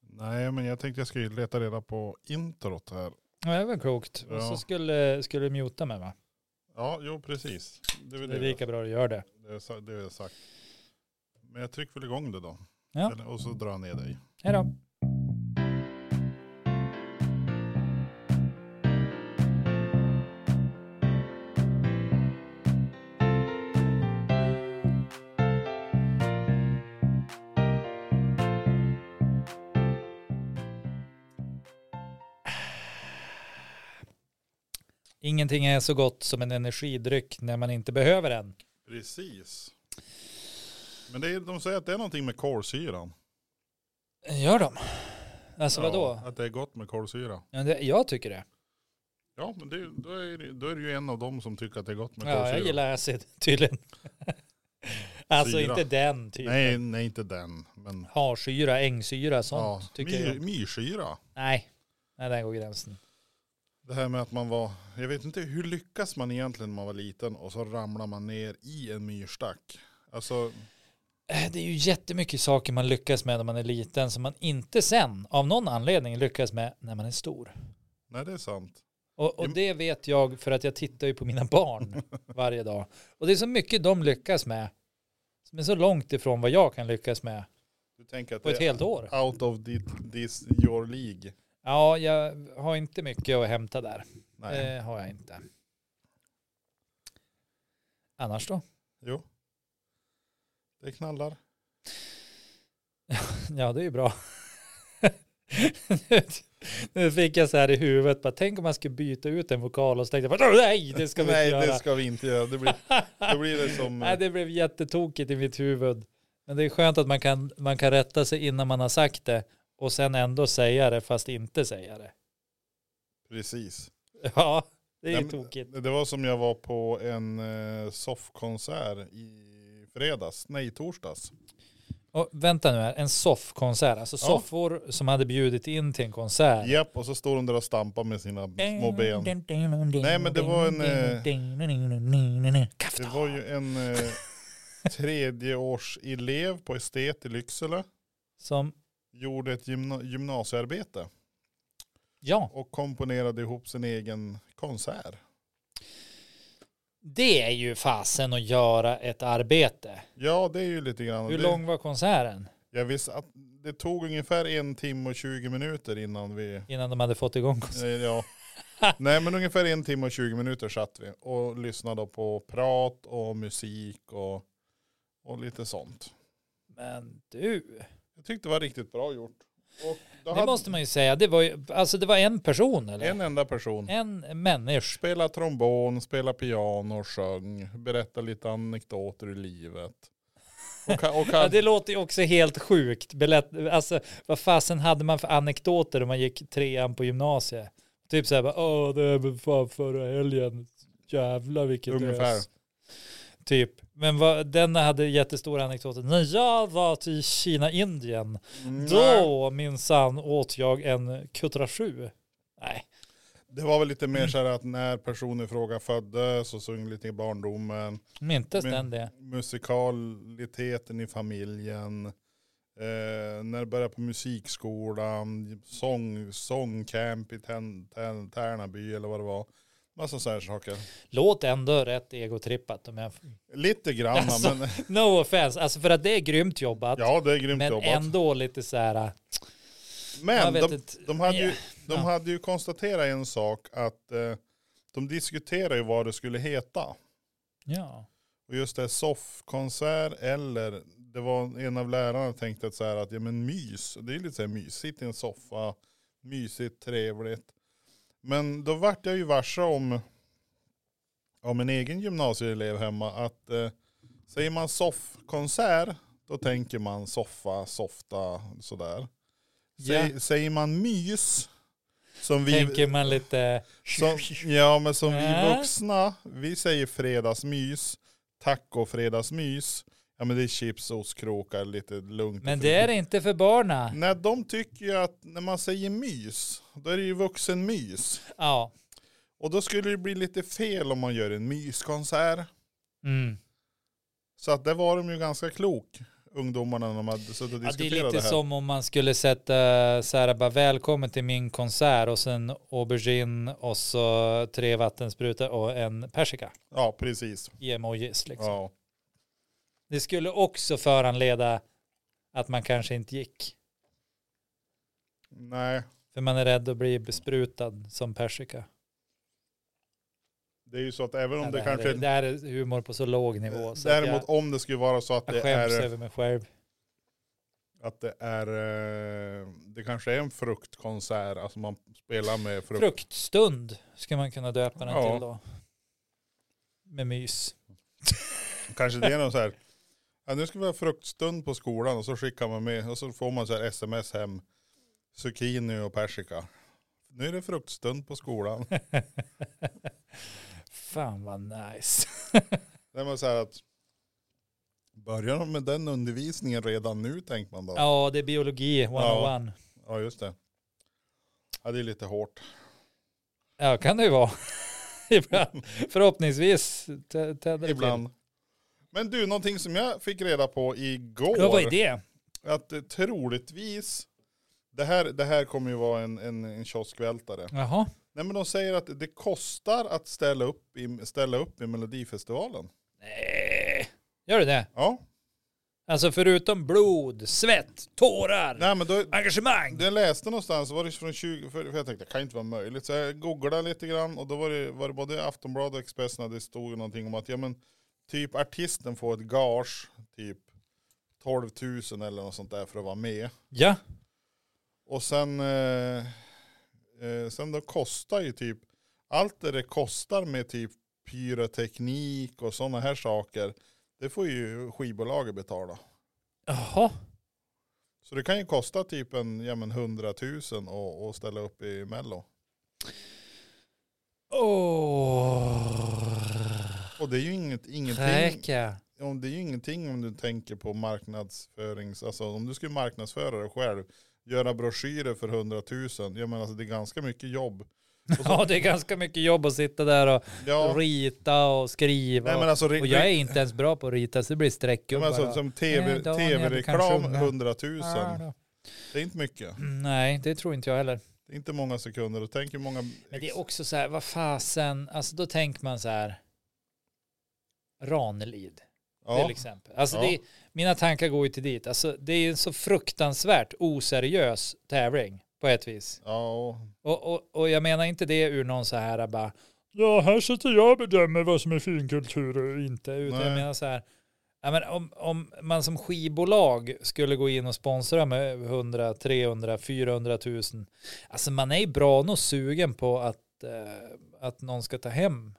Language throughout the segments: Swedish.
Nej, men jag tänkte jag skulle leta reda på introt här. Ja, det var klokt. Och Ja. så skulle, skulle du muta mig va? Ja, jo precis. Det är väl Det är det, lika bra du gör det. det, är, sa- det är sagt. Men jag trycker väl igång det då. Ja. Eller- Och så drar jag ner dig. Hej då. Ingenting är så gott som en energidryck när man inte behöver den. Precis. Men det är, de säger att det är någonting med kolsyran. Gör de? Alltså vadå? Ja, att det är gott med kolsyra. Ja, det- Jag tycker det. Ja, men det, då, är, det- då är det ju en av dem som tycker att det är gott med Ja, kolsyra. jag gillar acid tydligen. alltså Syra. inte den typen. Nej, nej, inte den. Men Harsyra, ängsyra, sånt ja, tycker my, jag. myrsyra. Nej. Nej, där går gränsen. Det här med att man var, jag vet inte hur lyckas man egentligen när man var liten och så ramlar man ner i en myrstack. Alltså, Eh, Det är ju jättemycket saker man lyckas med när man är liten som man inte sen av någon anledning lyckas med när man är stor. nej det är sant. Och, och Jo. det vet jag för att jag tittar ju på mina barn varje dag. Och det är så mycket de lyckas med som är så långt ifrån vad jag kan lyckas med Du tänker att på ett det helt år. är out of thi- this your league. Ja, jag har inte mycket att hämta där. Nej, Eh, har jag inte. Annars då? jo. Det knallar. Ja, det är ju bra. Nu- nu fick jag så här i huvudet, bara, tänk om man skulle byta ut en vokal och så tänkte jag, bara, nej det ska vi nej, inte göra. det ska vi inte göra. Det blir, då blir det som, nej, det blev jättetokigt i mitt huvud. Men det är skönt att man kan, man kan rätta sig innan man har sagt det och sen ändå säga det fast inte säga det. precis. Ja, det är Nej, ju men- tokigt. Det var som jag var på en eh, soffkonsert i fredags, nej torsdags. Och vänta nu här, en soffkonsert, alltså Ja. soffor som hade bjudit in till en konsert. Japp, och så står de där och stampar med sina små ben. Nej men det var en, Kaffe Det då. var ju en eh, tredjeårselev på estet i Lycksele. Som, Gjorde ett gymna- gymnasiearbete ja, och komponerade ihop sin egen konsert. det är ju fasen att göra ett arbete. Ja det är ju lite grann. Hur det, lång var konserten Jag visste att det tog ungefär en timme och 20 minuter innan vi. innan de hade fått igång Eh, konserten? ja. Nej men ungefär en timme och 20 minuter satt vi och lyssnade på prat och musik och, och lite sånt. Men du, Jag tyckte det var riktigt bra gjort. Och då det hade måste man ju säga, det var ju, alltså det var en person eller? en enda person. En, människa. Spela trombon, spela piano, sjöng, berätta lite anekdoter ur livet. Och, ka- och ka- Ja, det låter ju också helt sjukt. Belätt, alltså, vad fasen hade man för anekdoter om man gick trean på gymnasiet? Typ så här, bara, åh det är väl fan förra helgen, jävlar vilket Ungefär. ös." Typ, men vad, den hade jättestora anekdoter. När jag var till Kina, Indien, Mm, Nej, då minsann åt jag en kutrasju. Nej, det var väl lite mer så här att när personen i fråga föddes och så lite i barndomen. mintes Men- den det? Musikaliteten i familjen. Eh, när det började på musikskolan. Sång, sångcamp i Tän- Tän- Tärnaby eller vad det var. Massa sådana saker. Låt ändå rätt egotrippat om jag... Lite grann Alltså. men No offense, alltså för att det är grymt jobbat. ja det är grymt men jobbat. ändå lite så här, jag Men vet de, inte. de, hade ju, Ja. de Ja. hade ju konstaterat en sak att eh, de diskuterade ju vad det skulle heta. Ja. Och just det, soffkonsert eller, det var en av lärarna tänkte att så här att ja men mys, det är lite så här mysigt i en soffa, mysigt, trevligt. Men då vart jag ju varse om, om en egen gymnasieelev hemma att eh, säger man soffkonsert då tänker man soffa, softa, sådär. Säg, Säger man mys, som vi, Tänker man lite... som, ja, men som vi Äh? vuxna, vi säger fredagsmys, taco fredagsmys. Ja men det är chips, ostkrokar, lite lugnt. och Men fint. det är det inte för barna. Nej de tycker ju att när man säger mys, då är det ju vuxenmys. Ja. Och då skulle det bli lite fel om man gör en myskonsert. Mm. Så att det var de ju ganska klok. ungdomarna när de hade suttit och Ja, det är diskuterat det, lite här? som om man skulle sätta så här, bara välkommen till min konsert och sen aubergine och så tre vattensprutor och en persika Ja, precis. i emojis. Liksom. Ja. Det skulle också föranleda att man kanske inte gick. Nej, För man är rädd att bli besprutad som persika. det är ju så att även om Ja, det, det, här kanske... är, det här är humor på så låg nivå. Så att däremot om det skulle vara så att jag, det jag skäms är... över mig själv. Att det är... eh, Det kanske är en fruktkonsert. Alltså man spelar med frukt. Fruktstund skulle man kunna döpa den Ja. till då. Med mys. Kanske det är någon så här. Ja, nu ska vi ha fruktstund på skolan och så skickar man med och så får man så här sms hem. Zucchini och persika. Nu är det fruktstund på skolan. Fan vad nice. Det var så här att börjar de med den undervisningen redan nu tänker man då. Ja, Ja, det är biologi 101. just det. Ja det är lite hårt. Ja, kan det ju vara. Ibland. Förhoppningsvis t- tänder det Ibland. Men du, någonting som jag fick reda på igår. till. Ja, vad är det? Att eh, troligtvis, det här, det här kommer ju vara en, en, en kioskvältare. Jaha. Nej men de säger att det kostar att ställa upp i, ställa upp i Melodifestivalen. Nej. Gör det det? Ja. Alltså förutom blod, svett, tårar, Nej men då, engagemang. det jag läste någonstans var det från 20, för, för jag tänkte det kan ju inte vara möjligt. Så jag googlade lite grann och då var det, var det både Aftonbladet och Expressen och det stod ju någonting om att ja men typ artisten får ett gage, typ 12 000 eller något sånt där för att vara med. Ja, Och sen, eh, eh, sen då kostar ju typ allt det det kostar med typ pyroteknik och sådana här saker. Det får ju skivbolaget betala. jaha. Så det kan ju kosta typ en ja, men 100 000 och, och ställa upp i Mello. Åh, Och det är ju inget, ingenting, räka. om, det är ju ingenting om du tänker på marknadsförings, alltså om du skulle marknadsföra dig själv, göra broschyrer för 100 000, ja men alltså det är ganska mycket jobb. Och så- Ja, det är ganska mycket jobb att sitta där och ja, rita och skriva. nej, men alltså, och jag är inte ens bra på att rita, så det blir streckgubbar. Men alltså, och- som TV, Nej, Daniel, du kanske tv-reklam, unga. 100 Ja, 000. då. Mm, Det är inte mycket. Nej, det tror inte jag heller. Det är inte många sekunder. Och tänk hur många... Men det är också så här, vad fasen, alltså då tänker man så här, Ranelid till ja, exempel. Alltså Ja. det, är- mina tankar går ju till dit. Alltså det är en så fruktansvärt oseriös tävling på ett vis. ja, och- Och, och, och jag menar inte det ur någon så här bara, ja här sitter jag och bedömer vad som är finkultur och inte. Utan jag Nej. menar så här, ja, men om, om man som skivbolag skulle gå in och sponsra med 100, 300, 400 000. Alltså man är ju bra nog sugen på att, eh, att någon ska ta hem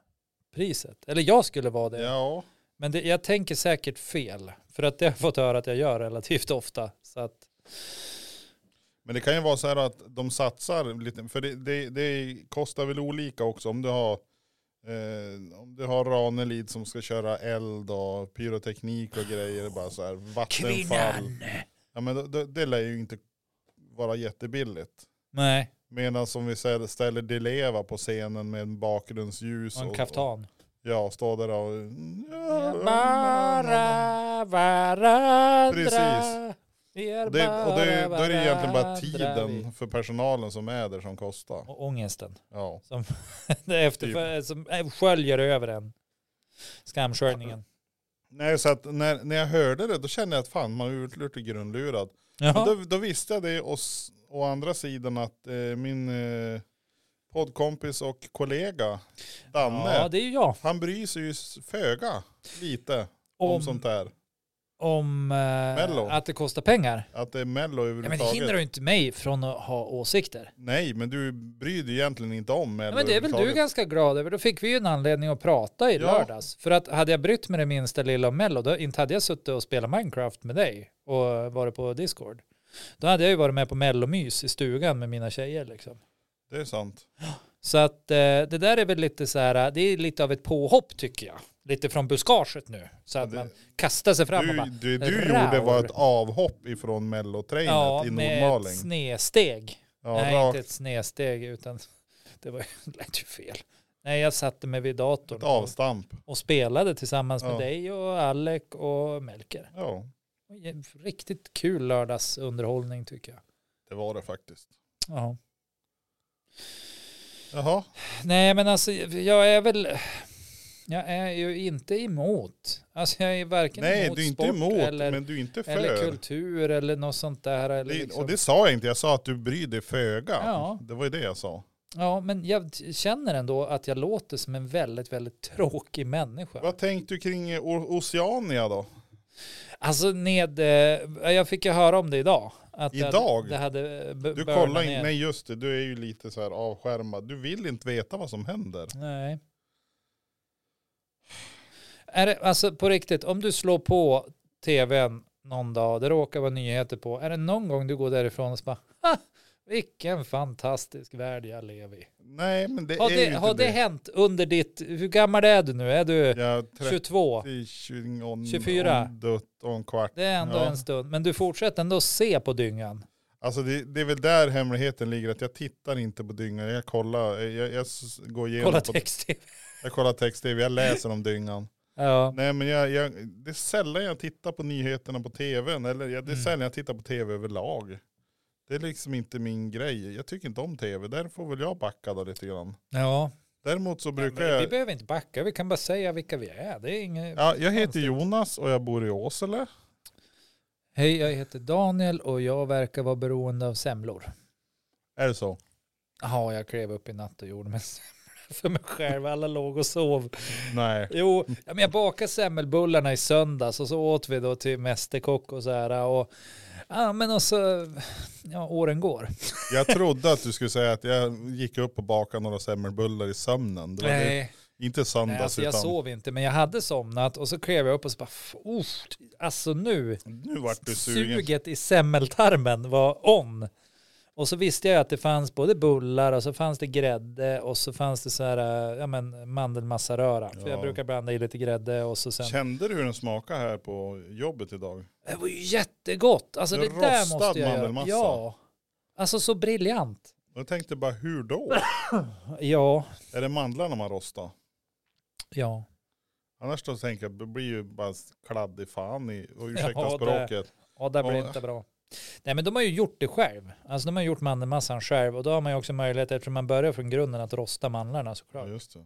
priset. Eller jag skulle vara det. ja. Men det, jag tänker säkert fel. För att det har jag fått höra att jag gör relativt ofta. Så att, Men det kan ju vara så här att de satsar lite. För det, det, det kostar väl olika också. Om du har, eh, om du har Ranelid som ska köra eld och pyroteknik och grejer. Bara så här, vattenfall. kvinnan! Ja, men då- då- det lär ju inte vara jättebilligt. Nej, Medan som vi säger, ställer Di Leva på scenen med en bakgrundsljus. och en kaftan. Ja, och stå där och... Bara varandra. Precis. Vi är Och det, och det, då är det egentligen bara varandra vi. tiden för personalen som är där som kostar. Och ångesten. Ja. Det är Typ. efter, som eh, sköljer över en. Skamskörjningen. Nej, så att när, när jag hörde det då kände jag att fan man är lite grundlurad. Men Ja. Då, då visste jag det och s- å andra sidan att eh, min eh, poddkompis och kollega Danne, ja, det är ju jag. han bryr sig ju s- föga lite om, Om, sånt där. om eh, Mello. att det kostar pengar. Att det är mello Ja, men det överhuvudtaget. hindrar ju inte mig från att ha åsikter. Nej, men du bryr dig egentligen inte om mello Ja, men det är väl du överhuvudtaget. ganska glad över. Då fick vi ju en anledning att prata i Ja. lördags. För att hade jag brytt mig det minsta lilla om Mello, då inte hade jag suttit och spelat Minecraft med dig och varit på Discord. Då hade jag ju varit med på Mellomys i stugan med mina tjejer liksom. Det är sant. Så att eh, det där är väl lite så här, det är lite av ett påhopp tycker jag. Lite från buskaget nu. Så att det- man kastar sig fram och Du, bara, det du "Raur." gjorde var ett avhopp ifrån mellotrainet ja, i med ett Nordmaling. snedsteg. Ja, Nej, rakt inte ett snedsteg utan det var det lät ju fel. Nej, jag satte mig vid datorn avstamp. och spelade tillsammans Ja. med dig och Alec och Melker. Ja. Riktigt kul lördagsunderhållning tycker jag. Det var det faktiskt. Ja. Jaha, Nej men alltså jag är väl, jag är ju inte emot. Alltså jag är varken nej emot du är inte sport emot eller, men du är inte för. eller kultur eller något sånt där. Eller Det, liksom. och det sa jag inte, jag sa att du bryr dig föga. Ja. Det var ju det jag sa. Ja men jag t- känner ändå att jag låter som en väldigt, väldigt tråkig människa. Vad tänkte du kring eh, O- Oceania då? Alltså ned, eh, jag fick ju höra om det idag. Att det hade- Idag? Det hade b- Du börnat kollar ner. inte, nej just det, du är ju lite så här avskärmad. Du vill inte veta vad som händer. Nej. Är det, alltså på riktigt, om du slår på tvn någon dag, det råkar vara nyheter på, är det någon gång du går därifrån och så bara, ha, vilken fantastisk värld jag lever i. Nej men det Har är ju det, inte har det, det. hänt under ditt, hur gammal är du nu? Är du Jag 30, 22? 20, 24. Om, dutt- om kvart. Det är ändå Ja. en stund, men du fortsätter ändå se på dyngan. Alltså det, det är väl där hemligheten ligger, att jag tittar inte på dyngan. Jag kollar, jag, jag, jag s- går igenom, Kolla på, text-tv. jag kollar text-tv, jag läser om dyngan. Ja. Nej men jag, jag, det är sällan jag tittar på nyheterna på tvn. Eller jag, det är Mm. sällan jag tittar på tv överlag. Det är liksom inte min grej. Jag tycker inte om tv. Där får väl jag backa då lite grann. ja. Däremot så brukar Men vi jag... behöver inte backa, vi kan bara säga vilka vi är. Det är inget... Ja, jag heter konstigt. Jonas och jag bor i Åsele. Hej, jag heter Daniel och jag verkar vara beroende av semlor. Är det så? Ja, jag klev upp i natt och gjorde mig semla för mig själv. Alla låg och sov. Nej. Jo, ja, men jag bakade semmelbullarna i söndags och så åt vi då till mästerkock och så här. Och, ja, men och så, ja, åren går. Jag trodde att du skulle säga att jag gick upp och bakade några semmelbullar i sömnen. Det var det. Nej, Inte söndags nej alltså jag utan... sov inte, men jag hade somnat och så klev jag upp och så bara, "F- uff, alltså nu, Nu vart du sugen. suget i semmeltarmen var on. Och så visste jag att det fanns både bullar och så fanns det grädde och så fanns det så här, eh, ja men mandelmassaröra. För jag Ja. brukar blanda i lite grädde och så sen. Kände du hur den smakade här på jobbet idag? Det var ju jättegott. Alltså En det där rostad måste jag göra. mandelmassa. Ja. Alltså så briljant. Jag tänkte bara hur då? Ja, Är det mandlarna man rostar? ja. Annars då tänker jag, det blir ju bara kladdig fan i, och ursäkta Ja, det- språket. Ja, där blir det Ja. inte bra. Nej, men de har ju gjort det själv. Alltså de har gjort mandelmassan själv och då har man ju också möjlighet eftersom man börjar från grunden att rosta mandlarna såklart. Ja, just det.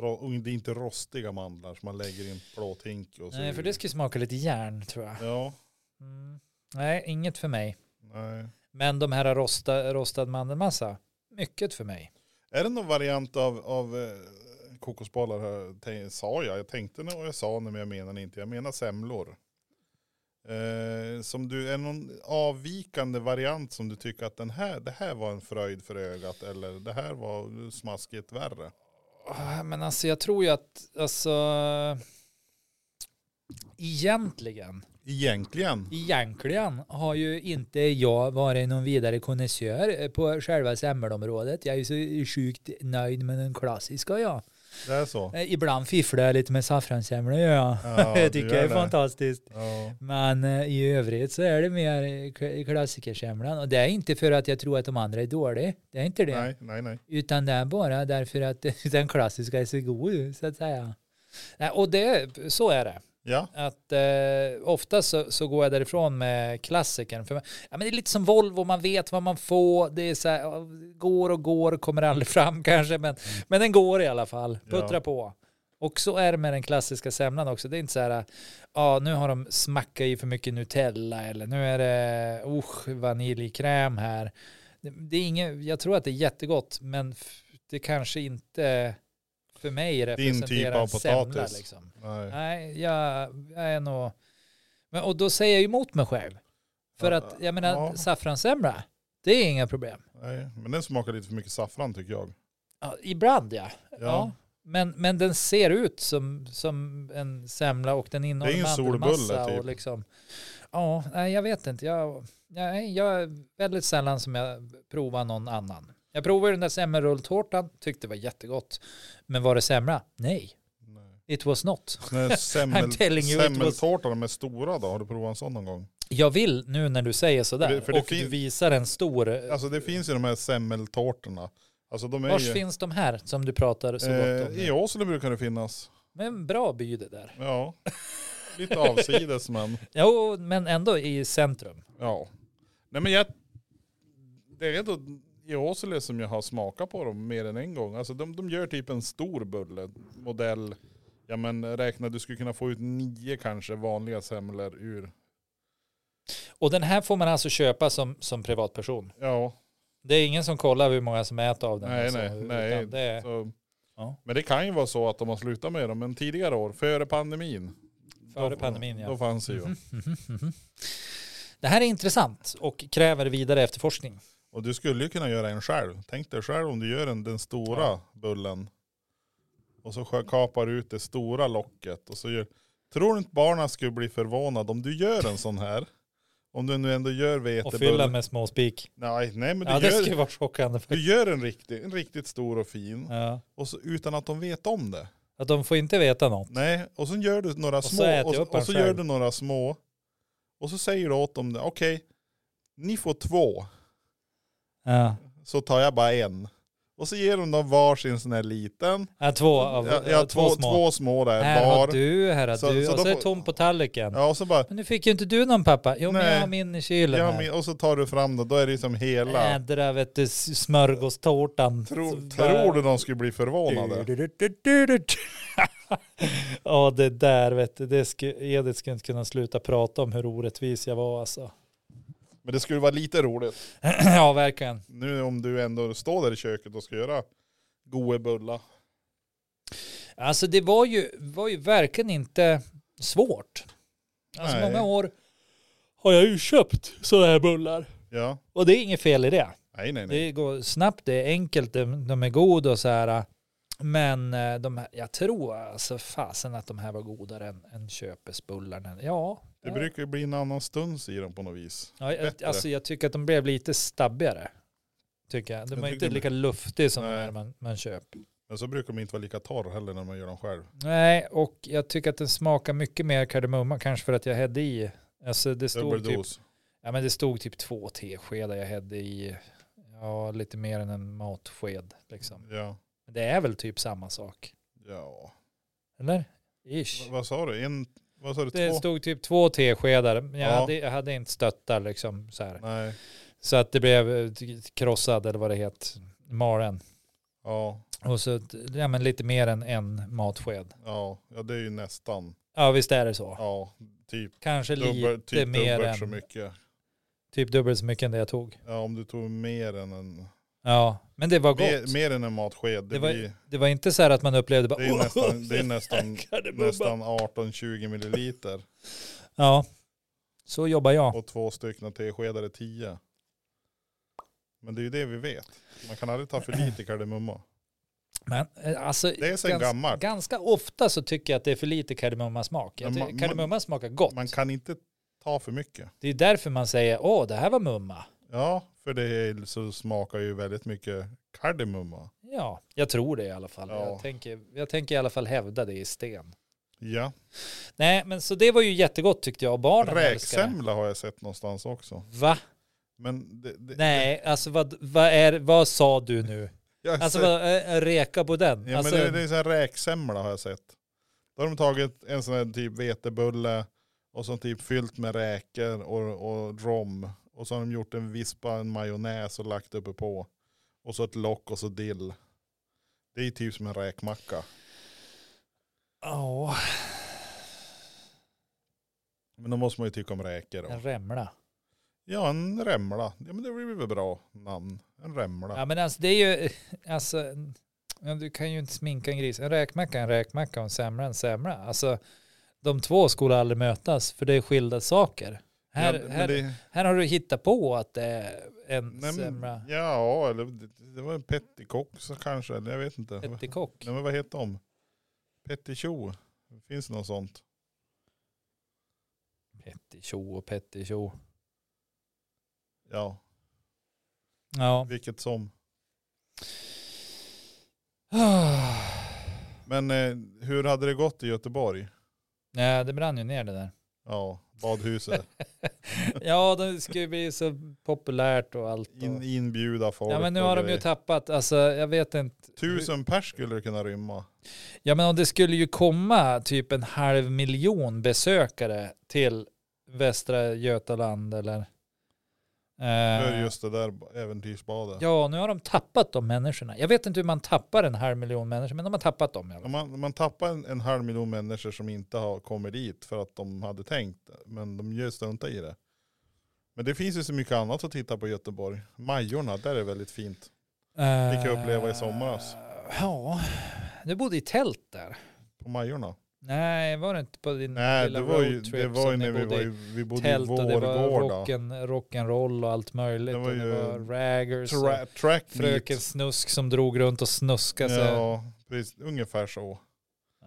Ro- Och det är inte rostiga mandlar som man lägger i en plåthink. Och så Nej, för det ska ju smaka lite järn tror jag. Ja, Mm. Nej, inget för mig. nej. Men de här rosta, rostad mandelmassa, mycket för mig. Är det någon variant av, av eh, kokosbollar? här? Tän- Sa jag, jag tänkte nu och jag sa nu men jag menar inte. Jag menar semlor. Eh, som du, är det någon avvikande variant som du tycker att den här, det här var en fröjd för ögat eller det här var smaskigt värre? Ah, Men alltså jag tror ju att, alltså, egentligen, Egentligen. egentligen har ju inte jag varit någon vidare konnässör på själva semmelområdet. Jag är ju så sjukt nöjd med den klassiska ja. Det är så. Eh, Ibland fifflar jag lite med saffranssemla ja. Ja, jag du tycker gör det är det. fantastiskt. Ja. Men eh, i övrigt så är det mer eh, kla- klassikersemlan. Och det är inte för att jag tror att de andra är dåliga. Det är inte det. Nej, nej, nej. Utan det är bara därför att den klassiska är så god, så att säga. Nej, Och det, så är det. Ja, Att eh, ofta så, så går jag därifrån med klassikern. För, ja, men det är lite som Volvo, man vet vad man får. Det är så här, ja, går och går, kommer aldrig fram kanske. Men, men den går i alla fall, puttra Ja. på. Och så är det med den klassiska semlan också. Det är inte så här, ja nu har de smackat i för mycket Nutella eller nu är det usch, vaniljkräm här. Det, det är inget, jag tror att det är jättegott men f- det kanske inte för mig representerar typ av en semla, potatis. Liksom. nej. Nej, jag, jag är nog... Men, och då säger jag ju emot mig själv. För Ja, att jag menar, ja. saffranssemla, det är inga problem. nej. Men den smakar lite för mycket saffran tycker jag. Ja, ibland ja. ja. Ja. Men, men den ser ut som, som en semla och den innehåller Det är ju en mandelmassa solbulle, typ. och liksom. Ja, nej, jag vet inte. Jag, jag, jag är väldigt sällan som jag provar någon annan. Jag provade den där semmelrulltårtan, tyckte det var jättegott. Men var det semla? Nej, Nej. it was not. Nej, semmel, I'm telling you it was- semmeltårtorna med stora då, har du provat en sån någon gång? Jag vill nu när du säger sådär För det- för det och du fin- visar en stor. Alltså det finns ju de här semmeltårtorna. Alltså de är Vars ju, finns de här som du pratar så gott om? eh, nu? I Åsele brukar det finnas. Men bra by det där. Ja. Lite avsides men Jo, men ändå i centrum. ja. Nej men jag, det är ändå i Åsele som jag har smakat på dem mer än en gång. Alltså de, de gör typ en stor bulle, modell, ja men räkna du skulle kunna få ut nio kanske vanliga semlor ur, Och den här får man alltså köpa som, som privatperson. ja Det är ingen som kollar hur många som äter av den. Nej, alltså, nej, utan nej. Det är, Så, Ja. Men det kan ju vara så att de har slutat med dem. Men tidigare år, före pandemin. Före då, pandemin, ja. Då fanns det ju. Mhm, mhm. Det här är intressant och kräver vidare efterforskning. Och du skulle ju kunna göra en själv. Tänk dig själv om du gör en, den stora Ja. bullen. Och så skö- kapar du ut det stora locket. Och så gör, tror du inte barnen skulle bli förvånade om du gör en sån här? Om du nu ändå gör Och fylla vetebulle. med småspik. Nej, nej men du, Ja, det gör, skulle vara chockande. faktiskt. du gör en, riktig, en riktigt stor och fin. Ja. Och så, utan att de vet om det. Att de får inte veta något. Nej, och sen gör du några så små. äter jag Och så, upp den och så själv. gör du några små. Och så säger du åt dem, det, okej, ni får två. Ja. Så tar jag bara en. Och så ger de dem varsin sån här liten. Ja, två, av, Ja, ja, ja, två, två, små. där Här har var. du, här har Så- du. så och då så är det får- tom på tallriken. Ja, och så bara, Men nu fick ju inte du någon pappa. Jo, men Nej. jag har min i kylen ja, här. men- och så tar du fram det, då är det liksom hela. Ädra vet du, s- smörgåstårtan. Tro, Så tror du de skulle bli förvånade? bara- Ja det där vet du, det sku, Edith skulle inte kunna sluta prata om hur orättvis jag var alltså. Men det skulle vara lite roligt. ja verkligen. Nu om du ändå står där i köket och ska göra goe bullar. Alltså det var ju, var ju verkligen inte svårt. Alltså Nej. många år har jag ju köpt sådana här bullar. Ja, Och det är inget fel i det. nej nej nej. Det går snabbt, det är enkelt, de, de är goda och så här. Men eh, de här, jag tror alltså fasen att de här var godare än, än köpesbullarna. Ja, Det brukar ju bli en annan stuns i dem på något vis. ja jag, bättre. alltså jag tycker att de blev lite stabbigare. Tycker jag. De Jag var tycker inte de- lika luftiga som de Nej. här man, man köper. Men så brukar de inte vara lika torr heller när man gör dem själv. Nej, och jag tycker att den smakar mycket mer kardemumma, kanske för att jag hade i. Alltså det stod typ Dubbeldos. Ja men det stod typ två teskedar jag hade i, ja lite mer än en matsked liksom. Ja. Men Det är väl typ samma sak, ja. eller? Ish. V- vad sa du? En, vad sa du? Det Två? stod typ två teskedar, men jag, Ja. hade, jag hade inte stöttar liksom så här. Nej. Så att det blev eh, t- krossad eller vad det heter, maren. Ja. Och så t- ja, men lite mer än en matsked. ja. Ja det är ju nästan. Ja visst är det så. Ja. Typ, Kanske dubbel, lite typ mer dubbelt så än, mycket. typ dubbelt så mycket än det jag tog. Ja om du tog mer än en. Ja, men det var gott. Mer, mer än en matsked. Det, Det var- blir, Det var inte så här att man upplevde bara, det är "Åh, nästan, det är nästan, kardemumma." nästan 18-20 milliliter. Ja, så jobbar jag. Och två stycken teskedar är 10. Men det är ju det vi vet. Man kan aldrig ta för lite kardemumma. Men eh, alltså, Det är sen gans- gammalt. ganska ofta så tycker jag att det är för lite kardemummasmak. Jag Men tycker man- Kardemumma smakar gott. Man kan inte ta för mycket. Det är därför man säger, åh, det här var mumma. Ja, för det är, så smakar ju väldigt mycket kardemumma. Ja, jag tror det i alla fall. Ja. Jag, tänker, jag tänker i alla fall hävda det i sten. Ja, Nej, men så det var ju jättegott tyckte jag. Barnen älskade det. räksemla har jag sett någonstans också. Va? Men det, det, Nej, alltså vad, vad, är, vad sa du nu? jag har Alltså sett, vad, eh, reka på den? ja, alltså, men det, det är så här räksemla har jag sett. Då har de tagit en sån här typ vetebulle och så typ fyllt med räkor och, och rom. Och så har de gjort en vispa, en majonnäs och lagt uppe på. Och så ett lock och så dill. Det är typ som en räkmacka. Åh, Men då måste man ju tycka om räkor. då. en remla. Ja, en remla. Ja, men det blir väl bra namn. En remla. Ja men alltså det är ju, alltså, ja, du kan ju inte sminka en gris. En räkmacka är en räkmacka och en semla är en semla. Alltså de två skulle aldrig mötas för det är skilda saker. Här, ja, men här, Mm, det, här har du hittat på att det är en nej, semla. men, ja, eller det, det var en petticock så kanske. Eller jag vet inte. Pettikock. Nej, men vad heter de? Petticho. Finns det något sånt? Pettitjo och pettitjo. Ja, Ja. vilket som. Ah. Men eh, hur hade det gått i Göteborg? Nej, det brann ju ner det där. Ja, badhuset. Ja, det ska ju bli så populärt och allt. Och... In, inbjuda folk. Ja, men nu och har de ju grejer. tappat, alltså jag vet inte. Tusen pers skulle det kunna rymma. Ja, men om det skulle ju komma typ en halv miljon besökare till Västra Götaland eller... För Eh, just det där äventyrsbadet. ja, nu har de tappat de människorna. Jag vet inte hur man tappar en halv miljon människor, men de har tappat dem. i alla Ja, fall. Man, man tappar en, en halv miljon människor som inte har kommit dit för att de hade tänkt. Men de gör strunta i det. Men det finns ju så mycket annat att titta på i Göteborg. Majorna, där är väldigt fint. fick jag uppleva i somras. Eh, Ja, du bodde i tält där. På Majorna. Nej, var det inte på din Nej, lilla det var ju, roadtrip det var ju som när ni vi, bodde var i ju, vi bodde i tält och det var Vårgårda. rocken, rock'n'roll och allt möjligt. Det var och ju det var raggers. och- Tra, track meet. Fröken Snusk som drog runt och snuskade sig. Ja, precis. Ungefär så.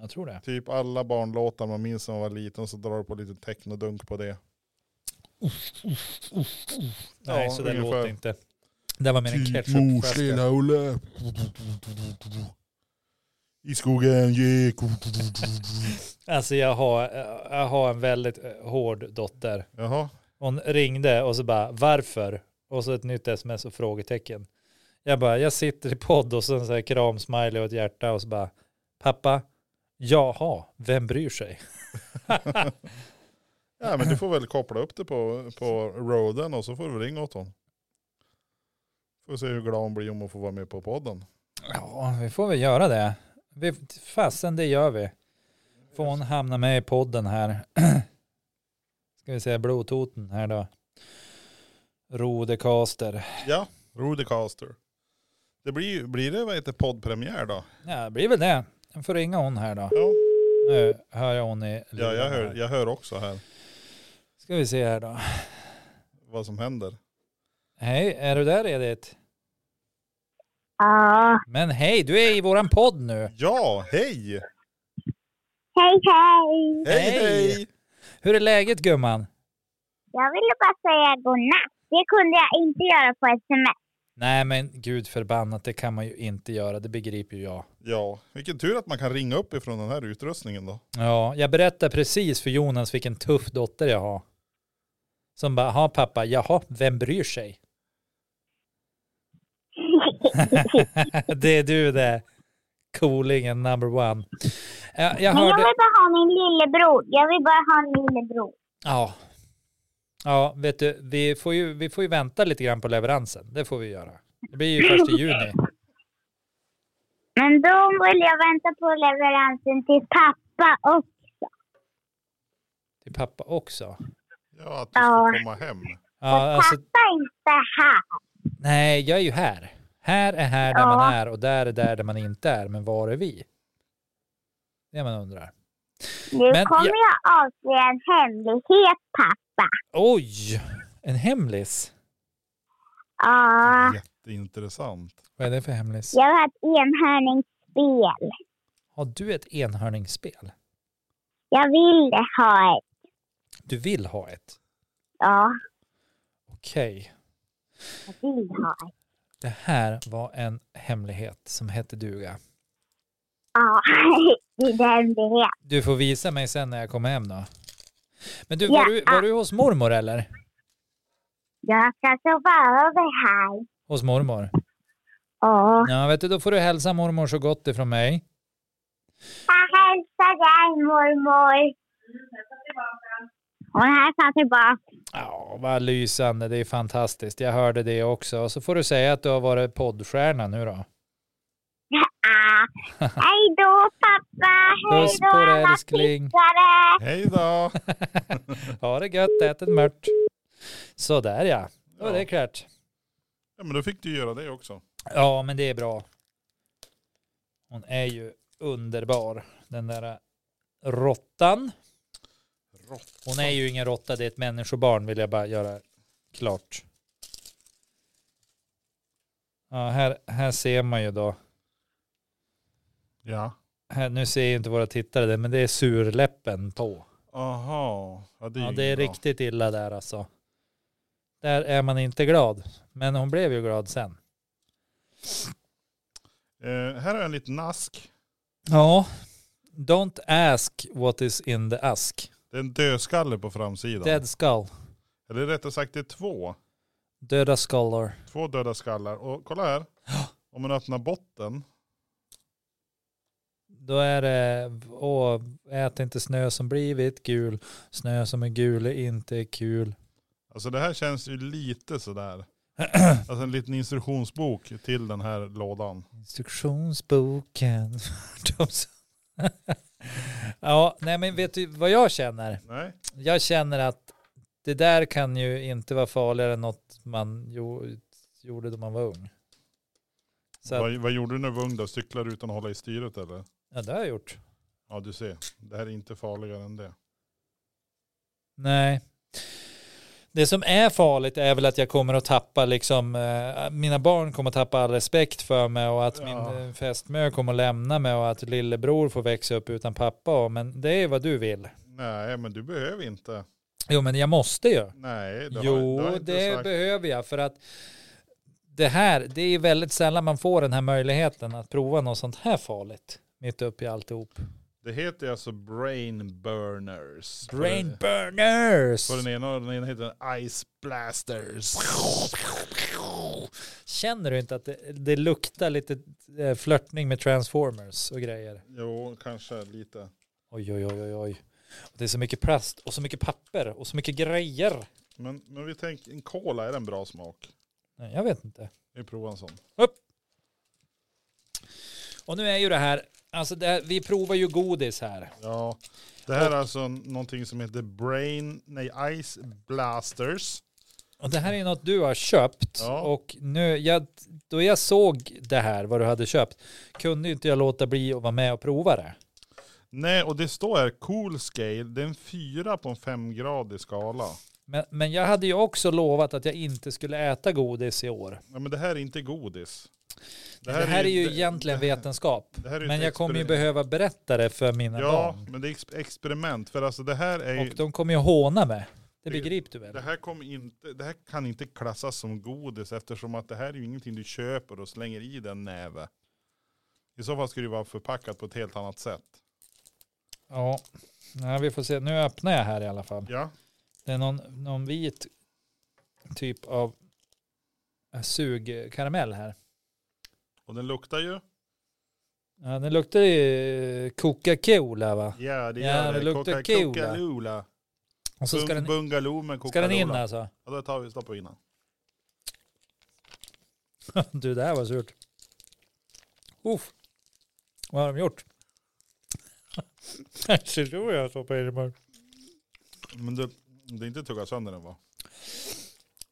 Jag tror det. Typ alla barnlåtar man minns när man var liten så drar du på lite technodunk på det. Ja, Nej, så det ungefär. låter inte. Det var mer en ketchupflaska. Typ Olle. I skogen gick. Alltså jag har, jag har en väldigt eh, hård dotter. Jaha. Hon ringde och så bara varför? Och så ett nytt sms och frågetecken. Jag bara, jag sitter i podd och sen så här kramsmiley och ett hjärta och så bara, pappa, jaha, vem bryr sig? Ja men du får väl koppla upp det på, på roaden och så får du ringa åt honom. Får se hur glad hon blir om hon får vara med på podden. Ja, vi får väl göra det. Vi, fasen, det gör vi. Får hon hamna med i podden här. Ska vi säga blodtoten här då. Rodecaster. Ja, Rudecaster. Det blir, blir det vad heter poddpremiär då? Ja, det blir väl det. Jag får ringa hon här då. Ja, Nu hör jag hon i ja jag, luren hör, här. jag hör också här Ska vi se här då. vad som händer. Hej, är du där Edith? Ja. Men hej, du är i våran podd nu. Ja, hej! Hej, hej! Hej Hej! hej! Hur är läget gumman? Jag ville bara säga godnatt. Det kunde jag inte göra på sms. Nej men gud förbannat, det kan man ju inte göra. Det begriper ju jag. Ja, vilken tur att man kan ringa upp ifrån den här utrustningen då. Ja, jag berättar precis för Jonas vilken tuff dotter jag har. Som bara, ha pappa, jaha, vem bryr sig? det är du det. Coolingen number one. Jag, jag Men jag hörde... vill bara ha min lillebror. Jag vill bara ha min lillebror. Ja. Ja, vet du, vi får, ju, vi får ju vänta lite grann på leveransen. Det får vi göra. Det blir ju först i juni. Men då vill jag vänta på leveransen till pappa och Till pappa också. Ja, att du ska Ja. komma hem. Ja, alltså, pappa är inte här. nej, jag är ju här. Här är här där man Ja. är och där är där där man inte är. Men var är vi? Det man undrar. Nu Men kommer jag avslöja en hemlighet, pappa. Oj, en hemlis. Ja, Jätteintressant. Vad är det för hemlis? jag har ett enhörningsspel. Har du ett enhörningsspel? Jag vill ha ett. Du vill ha ett? Ja, Okej. jag vill ha ett. Det här var en hemlighet som hette duga. Ja, det är en hemlighet. Du får visa mig sen när jag kommer hem då. Men du, Ja. var, du, var du hos mormor eller? Jag ska sova över här. Hos mormor? Åh, Ja, vet du, då får du hälsa mormor så gott ifrån mig. jag hälsar dig mormor. Hon hälsar tillbaka. Ja, vad lysande. Det är fantastiskt. Jag hörde det också. Och så får du säga att du har varit poddstjärna nu då. Ah. Hej då pappa! Hej Puss då på dig, alla älskling. tittare! Hej då! Ha det gött, ät ett mört. Sådär ja, då är Ja. det klart. Ja, men då fick du göra det också. Ja, men det är bra. Hon är ju underbar, den där råttan. Hon är ju ingen råtta, det är ett människobarn vill jag bara göra klart. Ja, här, här ser man ju då. Ja. Här, nu ser ju inte våra tittare det, men det är surläppen på. Aha. Ja, det är, Ja, ju det är bra. riktigt illa där alltså. Där är man inte glad. Men hon blev ju glad sen. Eh, här har jag en liten ask. Ja. Don't ask what is in the ask. Det är en dödskalle på framsidan. Dead skull. Eller rättare sagt det är två. Döda skallar. Två döda skallar. Och kolla här. Om man öppnar botten. Då är det, åh, ät inte snö som blivit gul. Snö som är gul är inte kul. Alltså det här känns ju lite sådär. Alltså en liten instruktionsbok till den här lådan. Instruktionsboken. De som- ja, nej men vet du vad jag känner? Nej. Jag känner att det där kan ju inte vara farligare än något man jo, gjorde då man var ung. Så att, Vad, vad gjorde du när du var ung då? Cyklade utan att hålla i styret eller? ja, det har jag gjort. Ja du ser. Det här är inte farligare än det. Nej. Det som är farligt är väl att jag kommer att tappa liksom, eh, mina barn kommer att tappa all respekt för mig och att Ja. min eh, fästmö kommer att lämna mig och att lillebror får växa upp utan pappa. Och, men det är vad du vill. Nej men du behöver inte. Jo men jag måste ju. Nej. Det har, Jo det, har jag inte det sagt. behöver jag för att det här, det är väldigt sällan man får den här möjligheten att prova något sånt här farligt. Mitt uppe i alltihop. det heter ju alltså brain burners. Brain burners! På den ena och den ena heter den Ice Blasters. Känner du inte att det, det luktar lite eh, flörtning med Transformers och grejer? Jo, kanske lite. Oj, oj, oj, oj, oj. Det är så mycket plast och så mycket papper och så mycket grejer. Men, men vi tänker, en cola, är det en bra smak? Nej, jag vet inte. Vi provar en sån. Och nu är ju det här, alltså det här, vi provar ju godis här. Ja, det här är alltså någonting som heter Brain, nej Ice Blasters. Och det här är ju något du har köpt. Ja. Och nu, jag, då jag såg det här, vad du hade köpt, kunde ju inte jag låta bli att vara med och prova det. Nej, och det står här Cool Scale, det är en fyra på en femgradig skala. Men, men jag hade ju också lovat att jag inte skulle äta godis i år. Ja, men det här är inte godis. Det här, är ju det- egentligen vetenskap. det här är ju Men ett jag kommer ju experiment. behöva berätta det för mina Ja, barn. men det är ex- experiment. För alltså det här är ju, Och de kommer ju håna mig. Det Det- begriper du väl? det här, kommer inte, det här kan inte klassas som godis eftersom att det här är ju ingenting du köper och slänger i den näve. I så fall skulle det vara förpackat på ett helt annat sätt. Ja. Nej, vi får se. Nu öppnar jag här i alla fall. Ja, Det är någon, någon vit typ av äh, sugkaramell här. och den luktar ju. Ja, den luktar ju Coca-Cola va? Ja, det Ja, gör det det. luktar Coca- cola. Coca-Cola. Och så ska den, Bungaloo med ska Coca-Cola. den in alltså. Ja, då tar vi stoppar vi innan. Du, det här var surt. Uff. Vad har de gjort? Kanske tror jag stoppar i munnen. Men du, det är inte tugga sönder den va?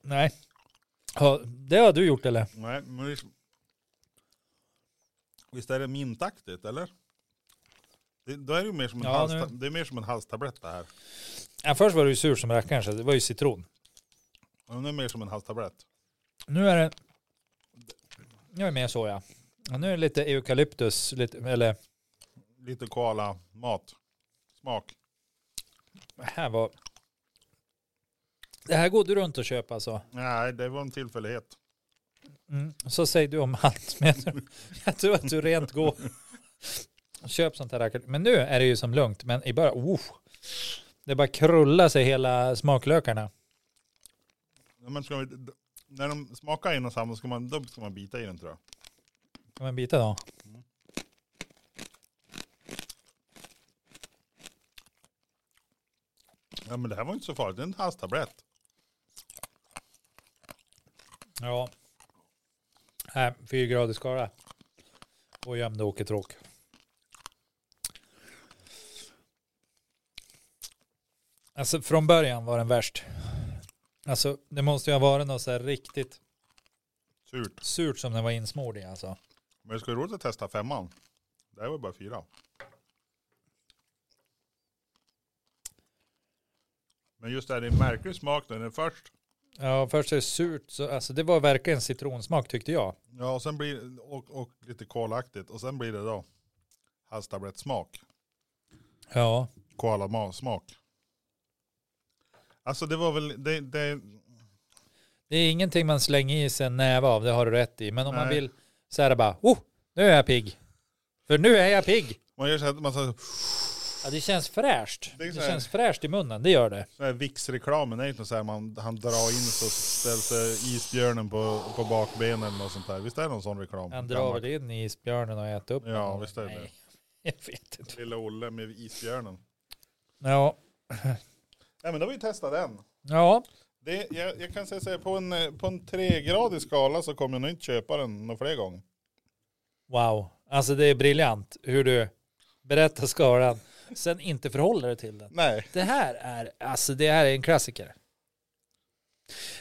Nej. Ja, det har du gjort eller? Nej, men visst, visst är det mintaktigt eller? Det, då är det ju mer som en, Ja, halsta, det är mer som en halstablett det här. Ja, först var det ju sur som rackaren så det var ju citron. Ja, men Det är mer som en halstablett. Nu är det... Nu är det mer soja. Och nu är det lite eukalyptus, lite, eller Lite koala mat. Smak. det här var... Det här går du runt och köper alltså? Nej, det var en tillfällighet. Mm. Så säger du om allt. Men jag tror- jag tror att du rent går och köp sånt här rackare. Men nu är det ju som lugnt. Men i början, oh, det bara krullar sig hela smaklökarna. Ja, Men ska vi, d- när de smakar en och samma ska man, då ska man bita i den tror jag. Kan man bita då? Ja men det här var inte så farligt, det är en halstablett. Ja. Äh, Nej, fyrgradig skala. Och gömde åketråk. Alltså från början var den värst. Alltså det måste ju ha varit något så här riktigt Surt. surt som den var insmord i alltså. Men det skulle vara roligt att testa femman. Det här var bara fyra. Men just det här, det är en märklig smak när den är först. Ja, först är det surt. Så, alltså, det var verkligen citronsmak tyckte jag. Ja och sen blir och, och lite kolaktigt. Och sen blir det då halstablettsmak. Ja. Koalamasmak. Alltså det var väl, det, det, Det är ingenting man slänger i sig en näve av, det har du rätt i. Men om man Nej. vill så här bara, oh, nu är jag pigg. För nu är jag pigg. man gör så här, man så här, Ja, det känns fräscht. Det är Det så här. känns fräscht i munnen, det gör det. Så här Vicks-reklamen är ju inte så här man, han drar in så ställer sig isbjörnen på, på bakbenen eller något sånt där. Visst är det någon sån reklam? Han drar väl in isbjörnen och äter upp Ja, den. visst är det Nej, Jag vet inte. Lilla Olle med isbjörnen. Ja, Nej men då har vi testat den. ja. Det, jag, jag kan säga så här, på en, eh, på en tregradig skala så kommer jag nog inte köpa den några fler gånger. wow. Alltså det är briljant hur du berättar skalan, sen inte förhåller dig till den. Nej. Det här är, alltså det här är en klassiker.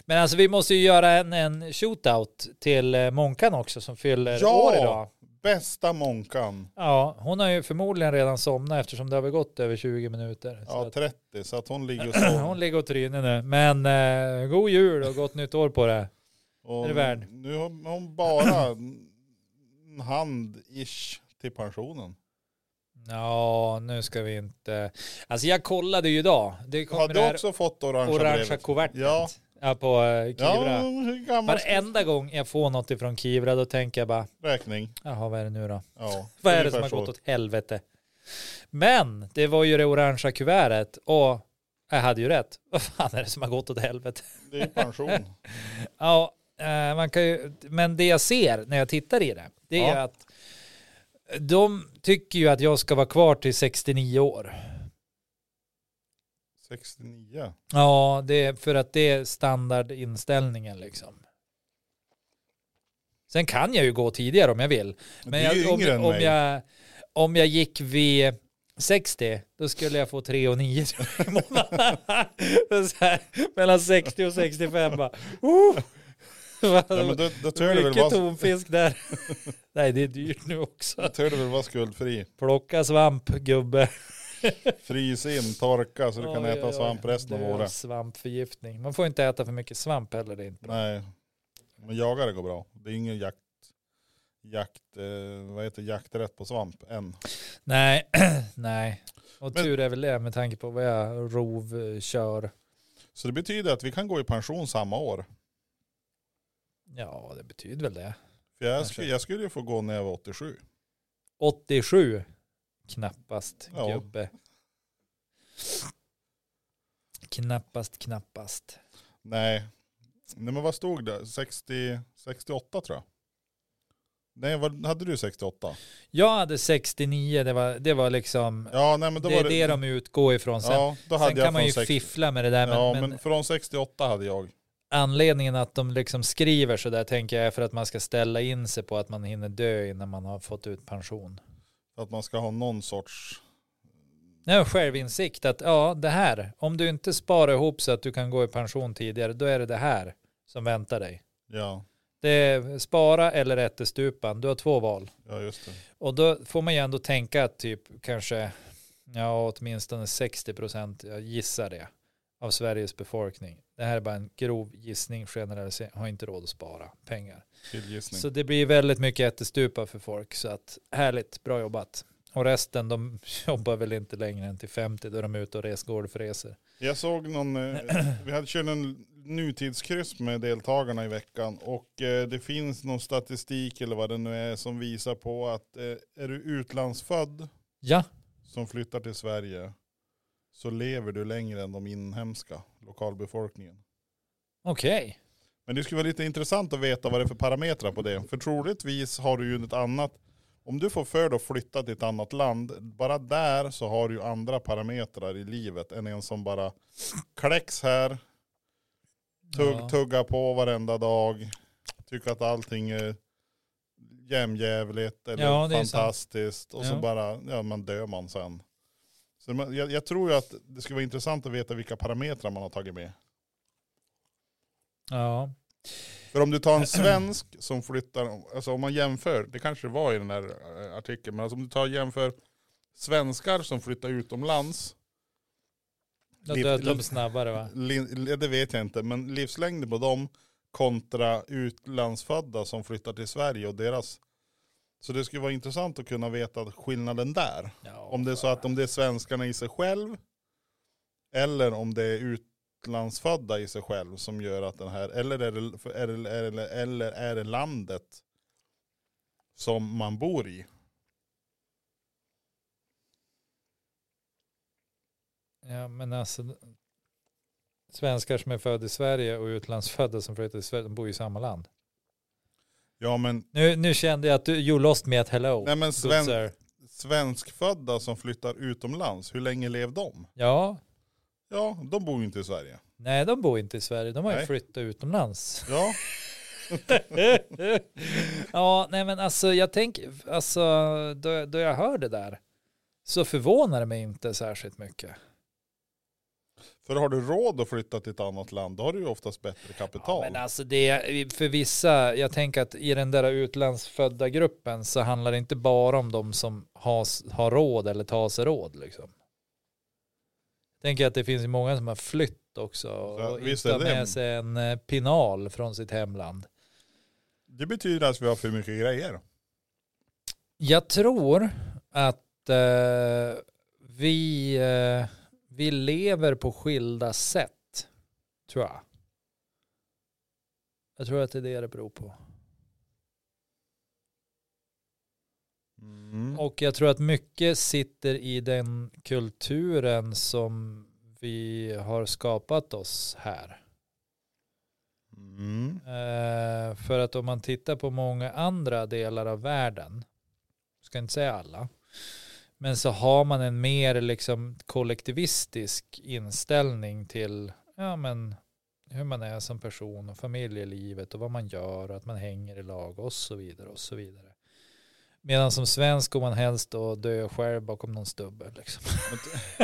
Men alltså vi måste ju göra en, en shootout till eh, Månkan också som fyller år idag. Ja! Bästa Månkan. Ja, hon har ju förmodligen redan somnat eftersom det har väl gått över 20 minuter. Så Ja att- 30 så att hon ligger och Hon sover. ligger och tryner nu. Men eh, god jul och gott nytt år på det. Och är det värd. Nu har hon bara en hand ish till pensionen. Ja, nu ska vi inte... Alltså jag kollade ju idag. Det Har kom det du här också fått orangea, orangea brevet? kuvertet Ja. ja, på eh, Kivra. Ja, hur gammal Varenda gång jag får något ifrån Kivra då tänker jag bara, räkning? jaha vad är det nu då? Ja, Vad är det ungefär som har så. gått åt helvete? Men det var ju det orangea kuvertet och jag hade ju rätt. Vad fan är det som har gått åt helvete? Det är pension. Ja, eh, man kan ju, men det jag ser när jag tittar i det, det är Ja. att de tycker ju att jag ska vara kvar till 69 år. 69. Ja, det är för att det är standardinställningen liksom. Sen kan jag ju gå tidigare om jag vill. Men du är jag, ju om, yngre än om, mig. jag, om jag gick vid 60, då skulle jag få 3 och 9 i månaden. Så här, Mellan 60 och 65 bara. Uh! Ja, men då, då tror jag det väl Mycket var, tonfisk där. Nej, det är dyrt nu också. då tror jag det väl var skuldfri. Plocka svamp, gubbe. Frys in, torka så du kan Oj, äta oj, alltså- oj. svamp resten av Dö av året. Svampförgiftning. Man får inte äta för mycket svamp heller. Det är inte bra. Nej, men jagare går bra. Det är ingen jakt, jakt, eh, vad heter det, jakträtt på svamp än. Nej, nej. Och Men- tur är väl det med tanke på vad jag eh, rovkör. Så det betyder att vi kan gå i pension samma år. Ja, det betyder väl det. För jag, Kanske. skulle, jag skulle ju få gå när jag var 87. 87. Knappast, Ja. gubbe. Knappast, knappast. Nej, Nej men vad stod det? 60, 68 tror jag. Nej, vad, hade du 68? Jag hade 69, det var, det var liksom, Ja, nej men då det var är det, de utgår ifrån. Sen, ja, då hade Sen jag kan man från ju 60 fiffla med det där, men, ja, men, men, från 68 hade jag. anledningen att de liksom skriver så där tänker jag är för att man ska ställa in sig på att man hinner dö innan man har fått ut pension. Att man ska ha någon sorts... Nej, och självinsikt att ja, det här, om du inte sparar ihop så att du kan gå i pension tidigare, då är det det här som väntar dig. Ja, Det är spara eller ättestupan, du har två val. ja just det. Och då får man ju ändå tänka att typ kanske, ja åtminstone 60 procent, jag gissar det, av Sveriges befolkning. Det här är bara en grov gissning, generalisering, har inte råd att spara pengar. Killgissning. Så det blir väldigt mycket ättestupa för folk, så att härligt, bra jobbat. Och resten, de jobbar väl inte längre än till 50, då är de ute och reser golfresor. Jag såg någon, eh, vi hade kört en nutidskryss med deltagarna i veckan och eh, det finns någon statistik eller vad det nu är som visar på att eh, är du utlandsfödd Ja, som flyttar till Sverige så lever du längre än de inhemska lokalbefolkningen. okej. Men det skulle vara lite intressant att veta vad det är för parametrar på det. För troligtvis har du ju ett annat, om du får för dig att flytta till ett annat land, bara där så har du ju andra parametrar i livet än en som bara kläcks här, tugg, Ja. tugga på varenda dag, tycker att allting är jämjävligt eller Ja, det är sant. fantastiskt och så Ja. bara, ja man dör man sen. Så man- jag, jag tror ju att det skulle vara intressant att veta vilka parametrar man har tagit med. Ja, För om du tar en svensk som flyttar, alltså om man jämför, det kanske det var i den här eh, artikeln, men alltså om du tar och jämför svenskar som flyttar utomlands, då Liv- dödar de snabbare va? li, det vet jag inte, men livslängden på dem kontra utlandsfödda som flyttar till Sverige och deras. Så det skulle vara intressant att kunna veta skillnaden där. Ja, Om det är så att om det är svenskarna i sig själv, eller om det är utlandsfödda i sig själv som gör att den här, eller är det, eller, eller, eller är det landet som man bor i. Ja, men alltså, svenskar som är födda i Sverige och utlandsfödda som flyttar till Sverige, de bor ju i samma land. Ja men, Nu, nu kände jag att du, you lost me at hello. nej, men good sven, sir. svenskfödda som flyttar utomlands, hur länge lev de? Ja, Ja, de bor ju inte i Sverige. nej de bor inte i Sverige, de har ju Nej. flyttat utomlands. Ja, ja, nej men alltså jag tänker, alltså då, då jag hör det där så förvånar det mig inte särskilt mycket. för har du råd att flytta till ett annat land, då har du ju oftast bättre Ja, kapital. men alltså det, för vissa, jag tänker att i den där utlandsfödda gruppen så handlar det inte bara om de som har, har råd eller tar sig råd liksom. Jag tänker att det finns ju många som har flytt också Ja, och visst inte har är det. med sig en eh, pinal från sitt hemland. Det betyder att vi har för mycket grejer. Jag tror att eh, vi, eh, vi lever på skilda sätt, tror jag. Jag tror att det är det det beror på. Mm. Och jag tror att mycket sitter i den kulturen som vi har skapat oss här. Mm. Eh, för att om man tittar på många andra delar av världen, ska inte säga alla, men så har man en mer liksom kollektivistisk inställning till ja, men hur man är som person och familjelivet och vad man gör och att man hänger i lag och så vidare och så vidare. Medan som svensk går man helst och dö själv bakom någon stubbe. Liksom. Men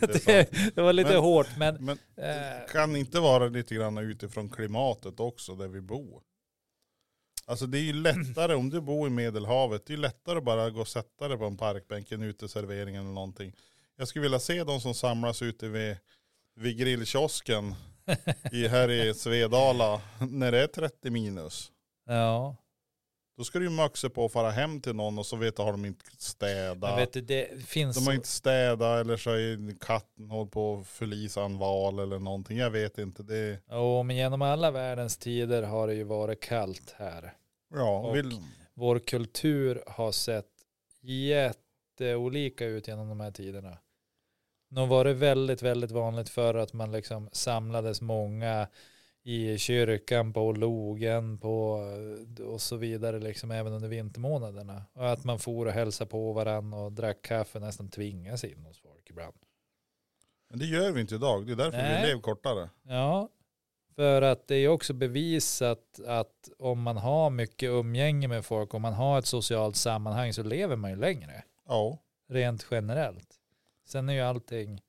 Det, det är det var lite Men- hårt men... Men eh, Kan inte vara lite grann utifrån klimatet också där vi bor. Alltså det är ju lättare om du bor i Medelhavet. Det är ju lättare att bara gå och sätta dig på en parkbänk, en uteservering eller någonting. Jag skulle vilja se de som samlas ute vid, vid grillkiosken i, här i Svedala när det är 30 minus. ja. Då ska du ju maxa på att fara hem till någon och så vet du har de inte Men städat. vet du, det finns... De har inte städat eller så är katten hållit på att förlisa en val eller någonting. Jag vet inte. Det är... Jo, men genom alla världens tider har det ju varit kallt här. Ja, Och- vill, Vår kultur har sett jätteolika ut genom de här tiderna. Nu var det väldigt, väldigt vanligt för att man liksom samlades många i kyrkan, på logen, på och så vidare, liksom även under vintermånaderna. Och att man for och hälsade på varandra och drack kaffe, nästan tvingas in hos folk ibland. men det gör vi inte idag. Det är därför Nej. vi lever kortare. Ja, för att det är också bevisat att om man har mycket umgänge med folk, om man har ett socialt sammanhang så lever man ju längre, Ja, rent generellt. Sen är ju allting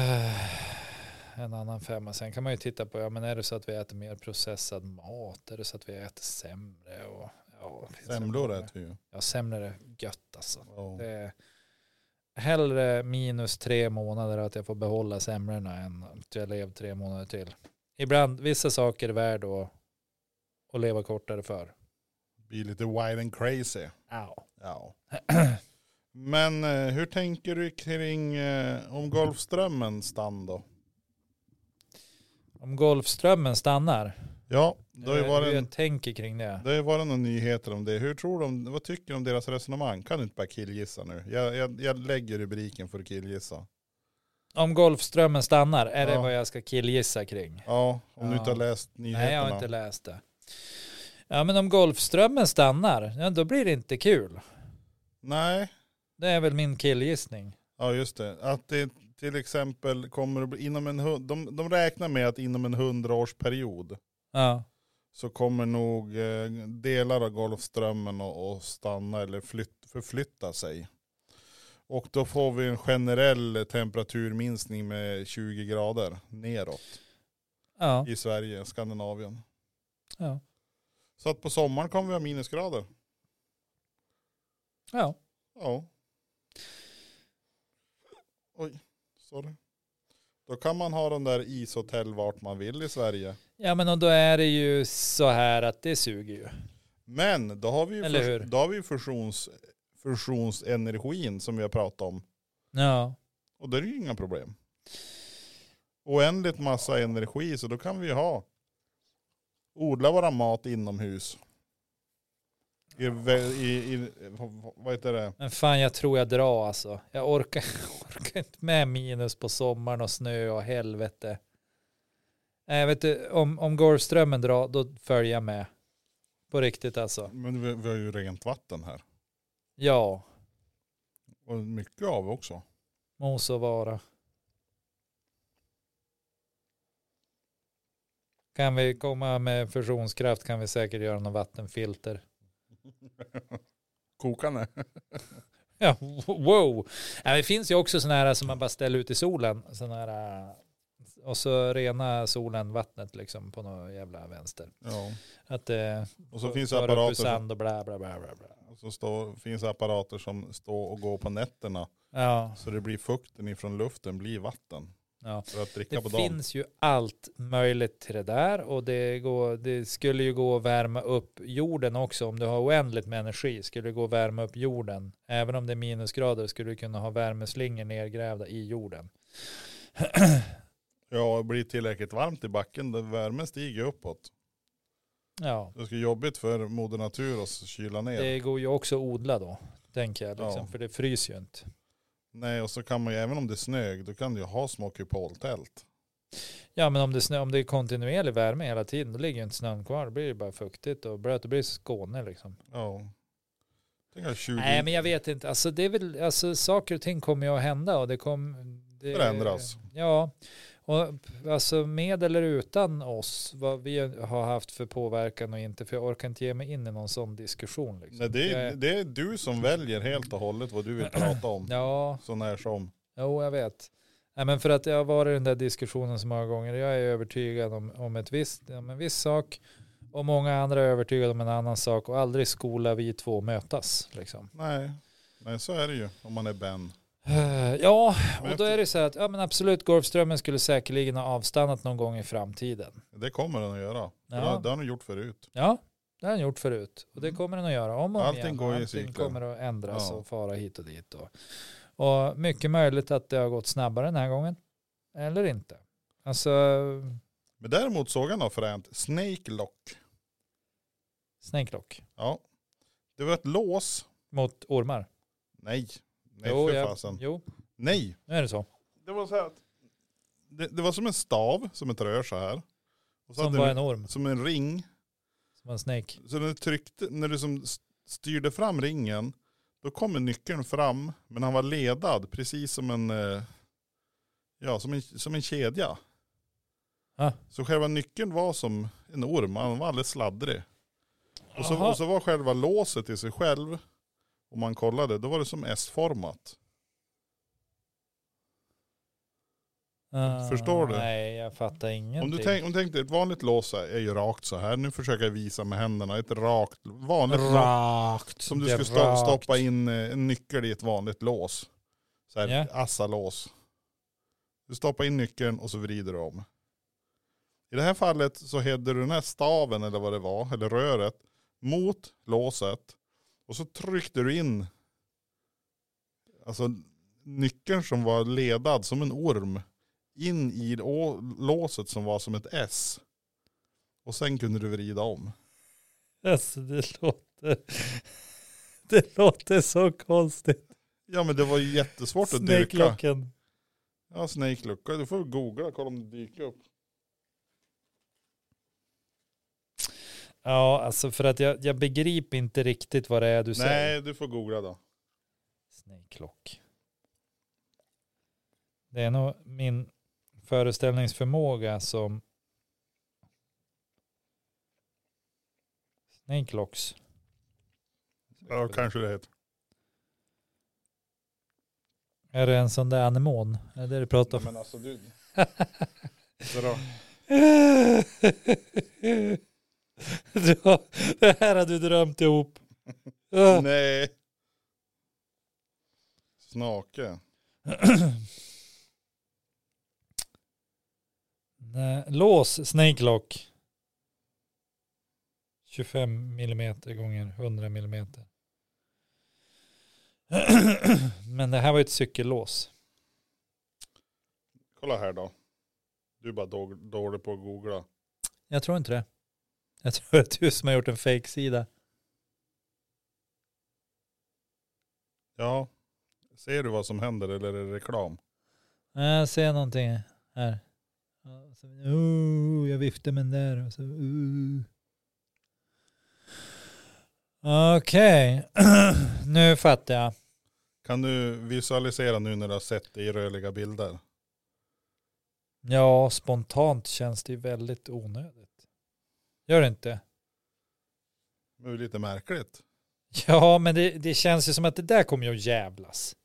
eh, en annan femma. Sen kan man ju titta på, ja men är det så att vi äter mer processad mat? Är det så att vi äter sämre? Och, ja, det finns ju semlor många. äter vi ju. Ja, sämre är gött alltså. Ja. Det är hellre minus tre månader att jag får behålla semlorna än att jag lever tre månader till. Ibland, vissa saker är värd att, att leva kortare för. Blir lite wild and crazy. Ja. Ja. Men eh, hur tänker du kring eh, om Golfströmmen stann då? Om Golfströmmen stannar, Ja, det har ju eh, varit, hur en, jag tänker kring det. det har ju varit några nyheter om det. Hur tror du, om- vad tycker du om deras resonemang? Kan du inte bara killgissa nu? Jag, jag, jag lägger rubriken för att killgissa. Om Golfströmmen stannar, är det Ja. vad jag ska killgissa kring? Ja, om du Ja. inte har läst nyheterna. Nej, jag har inte läst det. Ja, men om Golfströmmen stannar, ja, då blir det inte kul. Nej. Det är väl min killgissning. Ja just det. Att det till exempel kommer att bli inom en hund- de, de räknar med att inom en hundraårsperiod Ja. så kommer nog eh, delar av Golfströmmen att, att stanna eller flytt, förflytta sig. Och då får vi en generell temperaturminskning med 20 grader neråt Ja. i Sverige, Skandinavien. Ja. Så att på sommaren kommer vi ha minusgrader. ja. Ja. Oj, sorry. Då kan man ha den där ishotell vart man vill i Sverige. Ja men och då är det ju så här att det suger ju. Men då har vi ju, Eller hur? då har vi ju fusions, fusionsenergin som vi har pratat om. Ja. Och då är det ju inga problem. Oändligt massa energi så då kan vi ju ha odla våra mat inomhus. I, vä- i, i, vad heter det? Men fan jag tror jag drar alltså. Jag orkar, orkar inte med minus på sommaren och snö och helvete. Nej, vet du, om, om Golfströmmen drar då följer jag med. På riktigt alltså. Men vi, vi har ju rent vatten här. Ja, Och mycket av också. må så vara. Kan vi komma med fusionskraft kan vi säkert göra någon vattenfilter. Kokande. Ja, wow. Ja, det finns ju också sådana här som man bara ställer ut i solen. Såna här, äh, och så rena solen vattnet liksom på någon jävla vänster. Ja. Att det Och så finns det för upp ur apparater. Som, sand och bla bla bla bla. bla. och så står, finns det apparater som står och går på nätterna. Ja, Så det blir fukten ifrån luften blir vatten. ja. För att dricka på Det dagen. finns ju allt möjligt till det där och det, går, det skulle ju gå att värma upp jorden också om du har oändligt med energi skulle det gå att värma upp jorden. Även om det är minusgrader skulle du kunna ha värmeslingor nergrävda i jorden. Ja, det blir tillräckligt varmt i backen. då Värmen stiger uppåt. Ja. Det ska jobbigt för moder natur att kyla ner. Det går ju också att odla då, tänker jag. Liksom, Ja. För det fryser ju inte. Nej, och så kan man ju, även om det är snög, då kan du ju ha små kupoltält. Ja, men om det, snö, om det är kontinuerlig värme hela tiden, då ligger ju inte snön kvar. Då blir det bara fuktigt och blött. Då blir det Skåne liksom. Ja. Tänk att 20 Nej, men jag vet inte. Alltså, det är väl, alltså, saker och ting kommer ju att hända och det kommer... Det, Förändras. Ja. Och alltså med eller utan oss, vad vi har haft för påverkan och inte, för jag orkar inte ge mig in i någon sån diskussion. Liksom. Nej, det, Jag är, är- det är du som väljer helt och hållet vad du vill prata om. Ja, Så när som. Jo, jag vet. Nej, men för att jag har varit i den där diskussionen så många gånger. Jag är övertygad om, om, ett visst, om en viss sak och många andra är övertygade om en annan sak och aldrig skola vi två mötas. Liksom. Nej. Nej, så är det ju om man är Ben. Eh, Ja, Men och då är det så här att ja, men absolut, Golfströmmen skulle säkerligen ha avstannat någon gång i framtiden. Det kommer den att göra. För Det, Ja. har- det har den gjort förut. Ja, det har den gjort förut och det Mm. kommer den att göra om och om Allting igen. går ju i Allting cykler. kommer att ändras Ja. och fara hit och dit. Och, och mycket möjligt att det har gått snabbare den här gången eller inte. Alltså, Men däremot såg jag något fränt. Snake lock. Snäcklock. Ja. Det var ett lås. Mot ormar. Nej. Nej, Jo, för jag- fasen. Jo, Nej. nu är det så. Det var så här att. Det, det var som en stav, som ett rör så här. Och så Som hade var den- en orm. som en ring. Som var en snake. Så när du tryckte, när du som styrde fram ringen, då kommer nyckeln fram, men han var ledad precis som en, eh, ja som en, som en kedja. Ah. Så själva nyckeln var som en orm, han var alldeles sladdrig. Och så, Jaha. och så var själva låset i sig själv, om man kollade, då var det som S-format. Ah, Förstår du? Nej, jag fattar ingenting. Om du, tänk, om du tänkte, ett vanligt lås är ju rakt så här, nu försöker jag visa med händerna, ett rakt, vanligt lås. Rakt. Som du Det är skulle sto- rakt. stoppa in eh, en nyckel i ett vanligt lås. Så här Ja. assalås. Du stoppar in nyckeln och så vrider du om. I det här fallet så hedde du den här staven eller vad det var, eller röret, mot låset. Och så tryckte du in alltså nyckeln som var ledad som en orm in i å- låset som var som ett S. Och sen kunde du vrida om. Alltså det låter. Det låter så konstigt. Ja men det var ju jättesvårt att dyrka. Snäcklocken. Ja, Snake Lucka. Du får väl googla och kolla om det dyker upp. Ja, alltså för att jag, jag begriper inte riktigt vad det är du säger. Nej, du får googla då. Snäcklock. Det är nog min föreställningsförmåga som Snäcklocks. Ja, kanske det heter. Är det en sån där anemon? Är det det du pratar Nej, om? men alltså du. Dra. Du har- det här har du drömt ihop. Ah. Nej. Snake. Nej, Lås Snakelock. 25 millimeter gånger 100 millimeter. Men det här var ju ett cykellås. Kolla här då. Du är bara då- dålig på att googla. Jag tror inte det. Jag tror att det är du som har gjort en fake sida Ja. Ser du vad som händer eller är det reklam? Nej, Jag ser någonting här. Ja, så, oh, jag viftar med den där. och så, oh. Okej, nu fattar jag. Kan du visualisera nu när du har sett det i rörliga bilder? Ja, spontant känns det ju väldigt onödigt. Gör det inte? Det är ju lite märkligt. Ja, men det, det känns ju som att det där kommer ju att jävlas.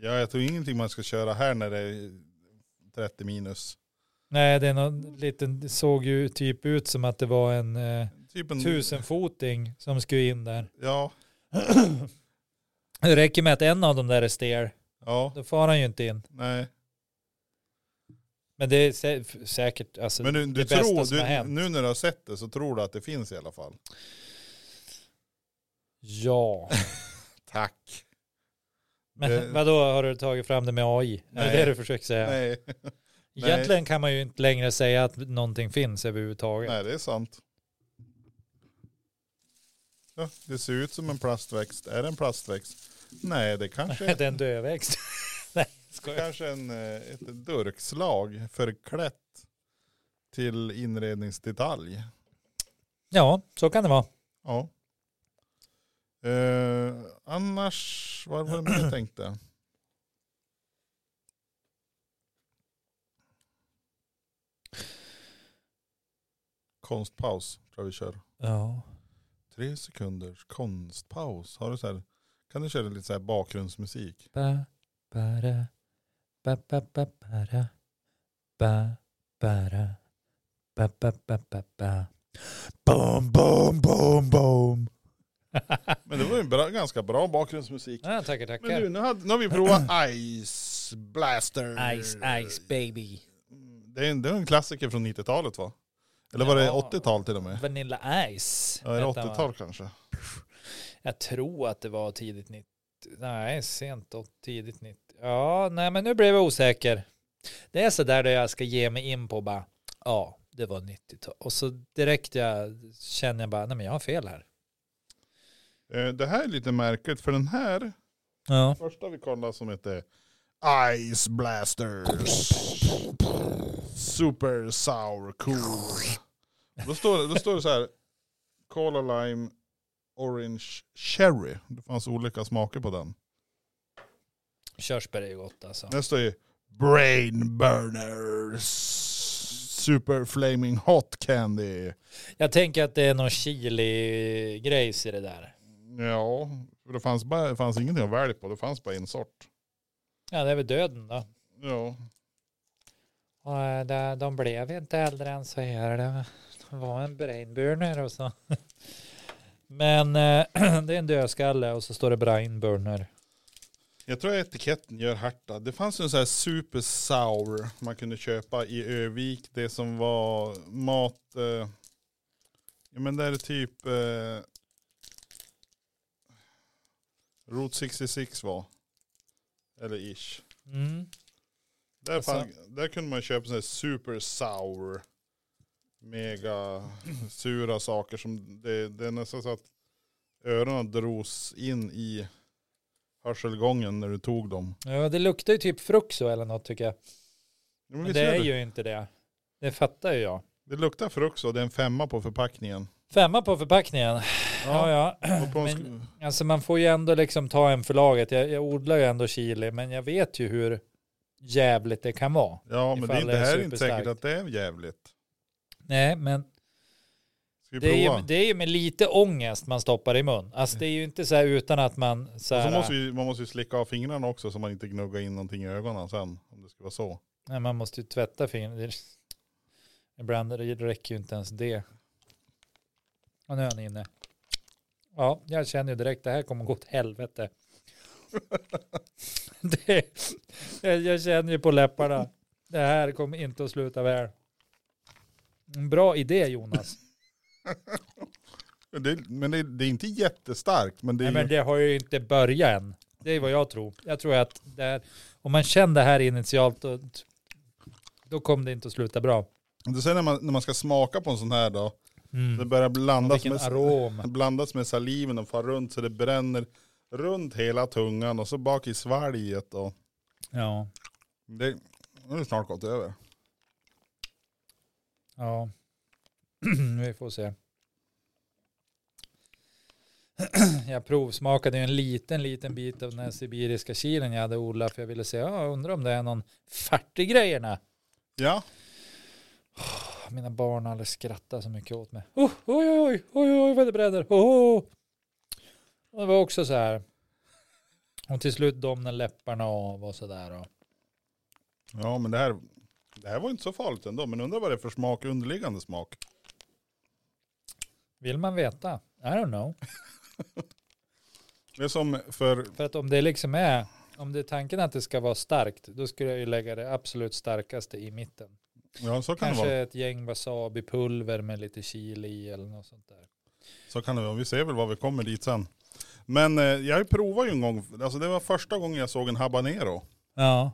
Ja, jag tror ingenting man ska köra här när det är 30 minus. Nej, det är någon liten, det såg ju typ ut som att det var en eh, Typ en... tusenfoting som skulle in där. Ja, Det räcker med att en av dem där är stel, ja, då far han ju inte in. nej. Men det är sä f- säkert, alltså, Men du, du det bästa tror, som har du, hänt. nu när du har sett det så tror du att det finns i alla fall. ja. Tack. Men Det- vadå, har du tagit fram det med AI? Är Nej. det det du försöker säga? Nej. nej. Egentligen kan man ju inte längre säga att någonting finns överhuvudtaget. nej, det är sant. Ja, det ser ut som en plastväxt. Är det en plastväxt? Nej, det kanske är Det är en döväxt. Nej, skojar. Kanske en, eh, ett durkslag förklätt till inredningsdetalj. Ja, så kan det vara. Ja. Eh, annars, vad var det mer jag tänkte? Konstpaus tror jag vi kör. Ja. Tre sekunders konstpaus. Har du så här, kan du köra lite så här bakgrundsmusik? Ba, bara, ba, ba, ba, bara, ba, bara, ba, ba, ba, ba, ba. Boom, boom, boom, boom. Men det var ju en bra, ganska bra bakgrundsmusik. Ja, tackar, tackar. Men du, nu, hade, nu har vi provat Ice Blaster. baby. Det är en, det är en klassiker från 90-talet va? Eller var Ja. det 80-tal till och med? Vanilla Ice. Ja, är det hette han, va? 80-tal kanske? Jag tror att det var tidigt 90. Nej, sent och tidigt 90. Ja, nej men nu blev jag osäker. Det är så där det jag ska ge mig in på bara. Ja, det var 90-tal. Och så direkt jag känner jag bara, nej men jag har fel här. Eh, Det här är lite märkligt för den här Ja. första vi kollade som heter Ice Blasters Super Sour Cool. Då står, det- då står det så här Cola Lime Orange Cherry. Det fanns olika smaker på den. Körsbär är ju gott alltså. Nästa är Brain Burners Super Flaming Hot Candy. Jag tänker att det är någon chili-grejs i det där. Ja, för det fanns, bara, det fanns ingenting att välja på. Det fanns bara en sort. Ja, det är väl döden då. Ja, Och eh, det- de blev inte äldre än så här. Det var en brainburner och så. Men eh, det är en dödskalle och så står det brainburner. jag tror etiketten gör harta. Det fanns ju en sån här super sour man kunde köpa i Övik. Det som var mat. Eh, ja men det är typ. Eh, Route 66 var. Eller ish. Mm. Där, Alltså- fan, där kunde man köpa sån här super sour. Mega sura saker som det, det är nästan så att öronen dros in i hörselgången när du tog dem. Ja, det luktar ju typ fruxo eller något tycker jag. Ja, men Men visst det gör är det. ju inte det. Det fattar ju jag. det luktar frukt och det är en femma på förpackningen. Femma på förpackningen. Ja, ja. Och på en sk- Alltså man får ju ändå liksom ta en för laget. Jag, jag odlar ju ändå chili, men jag vet ju hur jävligt det kan vara. ja men det är ifall inte, det är här är inte säkert superstarkt. att det är jävligt. Nej, men Ska vi det är, prova? ju, det är ju med lite ångest man stoppar i mun. Alltså det är ju inte så här utan att man så och så här, måste vi, man måste ju slicka av fingrarna också så man inte gnuggar in någonting i ögonen sen. Om det ska vara så. nej, man måste ju tvätta fingrarna. Ibland räcker ju inte ens det. Och nu är han inne. Ja, jag känner ju direkt det här kommer gå åt helvete. det, jag, jag känner ju på läpparna. Det här kommer inte att sluta väl. En Bra idé Jonas. Det, men det, det är inte jättestarkt. Men det är Nej, ju- men det har ju inte börjat än. Det är vad jag tror. Jag tror att det är, om man känner det här initialt då, då kommer det inte att sluta bra. Du säger när man, när man ska smaka på en sån här då, det börjar blandas Mm. Vilken med, arom. blandas med saliven och far runt så det bränner runt hela tungan och så bak i svalget. Och Ja. det, nu är det snart gått över. Ja. Vi får se. Jag provsmakade ju en liten, liten bit av den här sibiriska kilen jag hade odlat för jag ville se, ja, jag undrar om det är någon fart i grejerna. Ja, Mina barn har aldrig skrattat så mycket åt mig. Oh, oj, oj, oj, oj, oj, vad det bräder. Oh, oh. Och Det var också så här. Och till slut domnade läpparna av och så där. Och. ja men det här, det här var inte så farligt ändå. Men undrar vad det är för smak, underliggande smak. Vill man veta? I don't know. Det är som för, För att om det liksom är, om det är tanken att det ska vara starkt, då skulle jag ju lägga det absolut starkaste i mitten. ja så kan det Kanske vara. ett gäng wasabi-pulver med lite chili i eller något sånt där. Så kan det vara. Vi ser väl var vi kommer dit sen. Men eh, jag provade ju en gång, alltså det var första gången jag såg en habanero. Ja.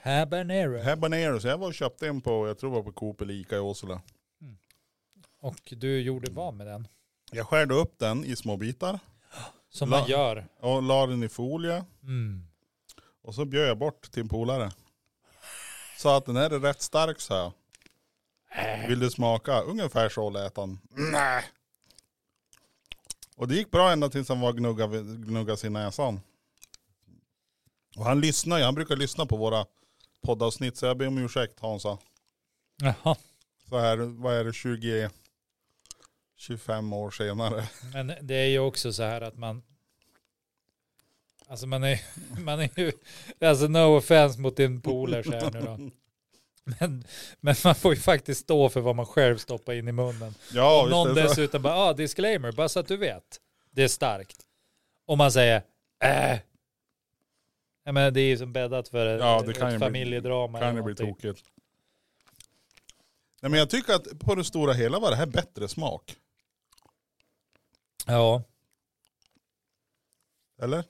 Habanero. Habanero, så jag var och köpte en på, jag tror det var på Coop eller Ica i Åsele. Och du gjorde vad med den? Jag skärde upp den i små bitar Som La- man gör. och la den i folie. Mm. Och så bjöd jag bort till en polare. Sa att den här är rätt stark så här. Vill du smaka? Ungefär så lät han. Nej. Och det gick bra ända tills han var gnugga, gnugga sin näsan. Och han lyssnar ju, han brukar lyssna på våra poddavsnitt så jag ber om ursäkt Hansa. Jaha. Så här, vad är det, 20, 25 år senare. Men det är ju också så här att man Alltså man är, man är ju, alltså no offense mot din polare så här nu då. Men, men man får ju faktiskt stå för vad man själv stoppar in i munnen. Ja, Om någon visst är det så. dessutom bara, ah, disclaimer, bara så att du vet. Det är starkt. Om man säger, äh. Jag menar, det är ju som bäddat för ett, Ja, det kan ju ett bli- familjedrama. kan eller det bli någonting. tokigt. Nej men jag tycker att på det stora hela var det här bättre smak. Ja. Eller?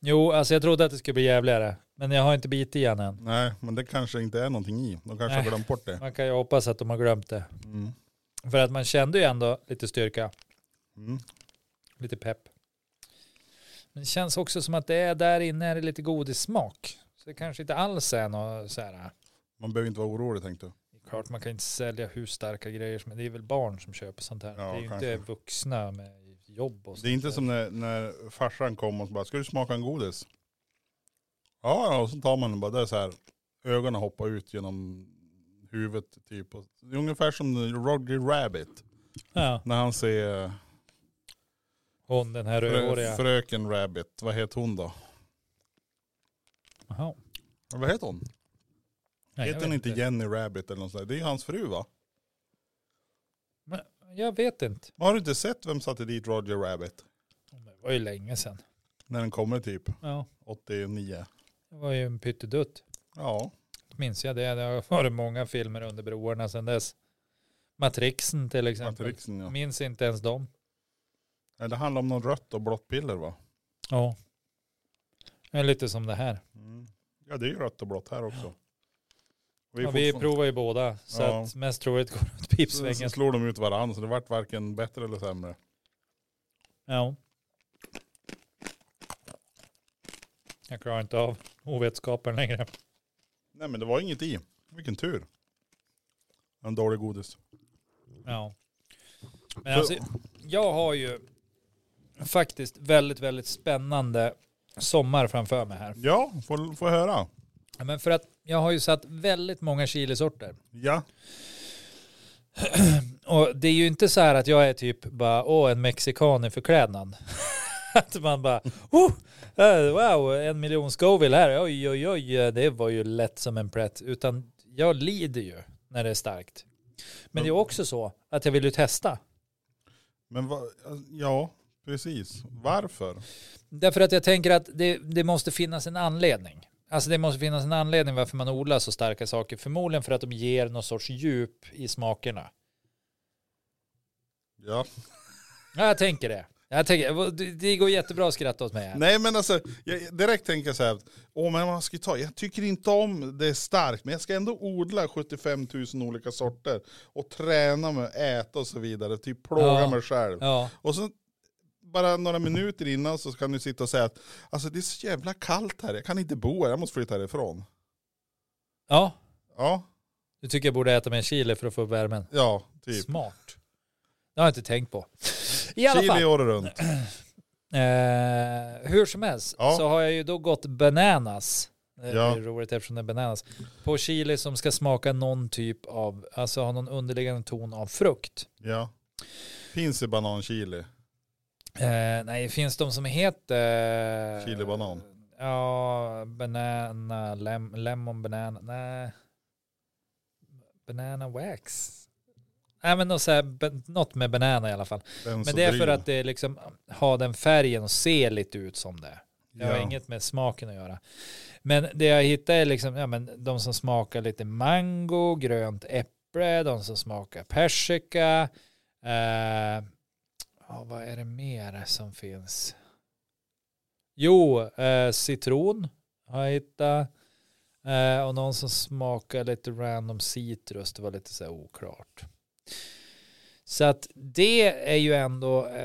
Jo, alltså jag trodde att det skulle bli jävligare. Men jag har inte bitit igen än. Nej, men det kanske inte är någonting i. De kanske har Nej. glömt bort det. Man kan ju hoppas att de har glömt det. Mm. För att man kände ju ändå lite styrka, Mm. lite pepp. Men det känns också som att det är där inne är det lite godissmak. Så det kanske inte alls är något så här. Man behöver inte vara orolig tänkte du. Det är Klart man kan inte sälja hur starka grejer som Det är väl barn som köper sånt här. Ja, det är ju kanske. inte vuxna med jobb och sånt Det är inte där. som när, när farsan kom och bara, ska du smaka en godis? Ja, ja, och så tar man den bara, där så här. Ögonen hoppar ut genom huvudet typ. Och, det är ungefär som Roger Rabbit. Ja, När han ser eh, hon den här frö, rödhåriga. fröken Rabbit. Vad heter hon då? Jaha. Ja, Vad heter hon? Nej, jag heter hon vet inte Jenny Rabbit eller något sånt där? Det är ju hans fru va? Men Jag vet inte. Har du inte sett Vem satte dit Roger Rabbit? Det var ju länge sedan. När den kommer typ Ja, 89. det var ju en pyttedutt. Ja. minns jag det. Det har varit många filmer under broarna sedan dess. Matrixen till exempel. Matrixen ja. Minns inte ens dem. Ja, Det handlar om någon rött och blått piller va? Ja. Det är lite som det här. Ja det är ju rött och blått här också. Vi, ja, vi fortfarande- provar ju båda. Så Ja. att mest troligt går åt så, så pipsvängen. slår de ut varandra så det vart varken bättre eller sämre. Ja. Jag klarar inte av ovetskapen längre. Nej men det var inget i. Vilken tur. En dålig godis. Ja. Men alltså, jag har ju faktiskt väldigt, väldigt spännande sommar framför mig här. Ja, får, får jag höra. Ja, Men för att jag har ju satt väldigt många chilisorter. Ja. Och det är ju inte så här att jag är typ bara, åh, en mexikan i förklädnad. att man bara, oh, eh, wow, en miljon Scoville här, oj, oj, oj, eh, det var ju lätt som en plätt. Utan jag lider ju när det är starkt. Men det är också så att jag vill ju testa. Men va, ja, precis. Varför? Därför att jag tänker att det, det måste finnas en anledning. Alltså det måste finnas en anledning varför man odlar så starka saker. Förmodligen för att de ger någon sorts djup i smakerna. Ja. Ja, jag tänker det. Jag tänker, det- det går jättebra att skratta åt mig här. Nej men alltså, jag, direkt tänker jag så här. att, Åh men man ska ju ta, jag tycker inte om det starkt men jag ska ändå odla 75 000 olika sorter. Och träna mig, äta och så vidare. Typ plåga Ja. mig själv. Ja. Och så bara några minuter innan så kan du sitta och säga att alltså det är så jävla kallt här, jag kan inte bo här, jag måste flytta härifrån. Ja, Ja, du tycker jag borde äta mer chili för att få upp värmen. ja, typ. Smart. Det har jag inte tänkt på. I alla fall. Chili året runt. Eh, hur som helst Ja. så har jag ju då gått bananas. Eh, Ja. Det är roligt eftersom det är bananas. På chili som ska smaka någon typ av, alltså ha någon underliggande ton av frukt. Ja. Finns det bananchili? Eh, nej, finns de som heter... eh, Chilibanan. Ja, banana, lem, lemon banana, nej. Banana wax. Nej men något, så här, ba- något med banana i alla fall. Men det är för att det liksom har den färgen och ser lite ut som det. Det har Ja. inget med smaken att göra. Men det jag hittar är liksom, ja men de som smakar lite mango, grönt äpple, de som smakar persika. Eh, ja, vad är det mer som finns? Jo, eh, citron har jag hittat. Eh, och någon som smakar lite random citrus, det var lite så här oklart. Så att det är ju ändå eh,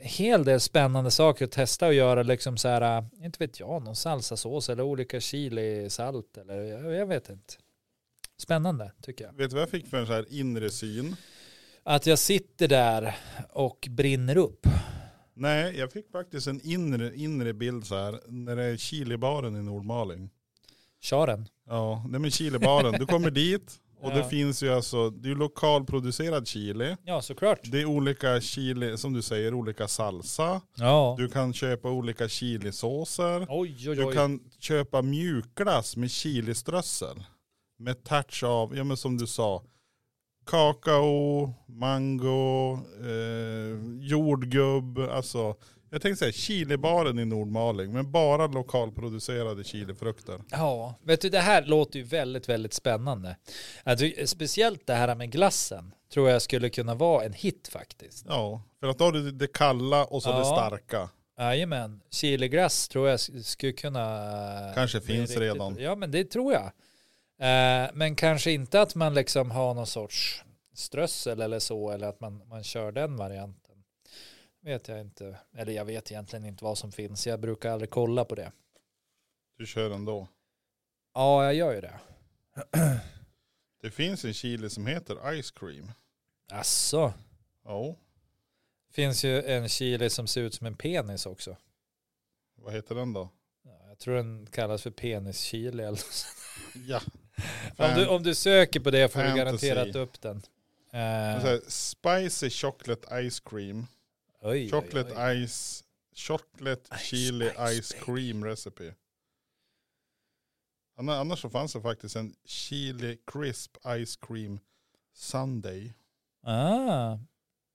en hel del spännande saker att testa och göra liksom så här, eh, inte vet jag, någon salsasås eller olika chilisalt eller jag, jag vet inte. Spännande tycker jag. Vet du vad jag fick för en så här inre syn? Att jag sitter där och brinner upp. Nej, jag fick faktiskt en inre, inre bild så här när det är chilibaren i Nordmaling. Kör den. Ja, nej men chilibaren. Du kommer dit och det Ja. finns ju alltså, det är ju lokalproducerad chili. Ja, såklart. Det är olika chili, som du säger, olika salsa. Ja. Du kan köpa olika chilisåser. Oj, oj, Du oj. kan köpa mjukglass med chiliströssel. Med touch av, ja men som du sa, kakao, mango, eh, jordgubb. Alltså, jag tänkte säga chilibaren i Nordmaling, men bara lokalproducerade chilifrukter. Ja, vet du det här låter ju väldigt, väldigt spännande. Att du, speciellt det här med glassen tror jag skulle kunna vara en hit faktiskt. Ja, för att då har du det kalla och så Ja. det starka. Jajamän, chiliglass tror jag s- skulle kunna... Kanske bli finns riktigt- redan. Ja, men det tror jag. Eh, Men kanske inte att man liksom har någon sorts strössel eller så, eller att man, man kör den varianten. Vet jag inte. Eller jag vet egentligen inte vad som finns. Jag brukar aldrig kolla på det. Du kör ändå. Ja, jag gör ju det. Det finns en chili som heter ice cream. Asså. Ja, Finns ju en chili som ser ut som en penis också. vad heter den då? Ja, Jag tror den kallas för penischili eller något sånt. Ja. om, du, om du söker på det får du Fantasy. garanterat upp den. Och Uh, så här, spicy chocolate ice cream. oj, Chocolate oj, oj. ice. Chocolate Ice chili spice ice cream recipe. Anna- Annars så fanns det faktiskt en chili crisp ice cream sunday. Ah,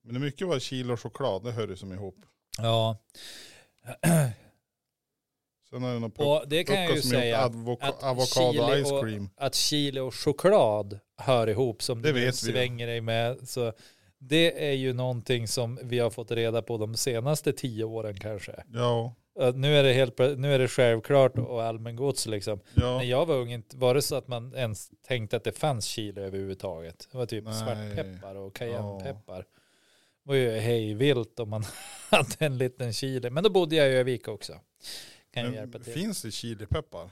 Men det mycket var chili och choklad, det hör ju som ihop. ja, Sen är det någon och det kan jag ju säga att avoka- avokado chili ice och- cream. att chili och choklad hör ihop som Det du vet vi ju. svänger dig med. Så det är ju någonting som vi har fått reda på de senaste tio åren kanske. Ja, Att Nu är det, helt, plö- nu är det självklart och allmängods liksom. Mm. ja. När jag var ung inte var det så att man ens tänkte att det fanns chili överhuvudtaget. Det var typ Nej. svartpeppar och cayennepeppar. Det var ju hejvilt om man hade en liten chili. Men då bodde jag i Övik också. Kan ju hjälpa Men till. finns det chilipeppar?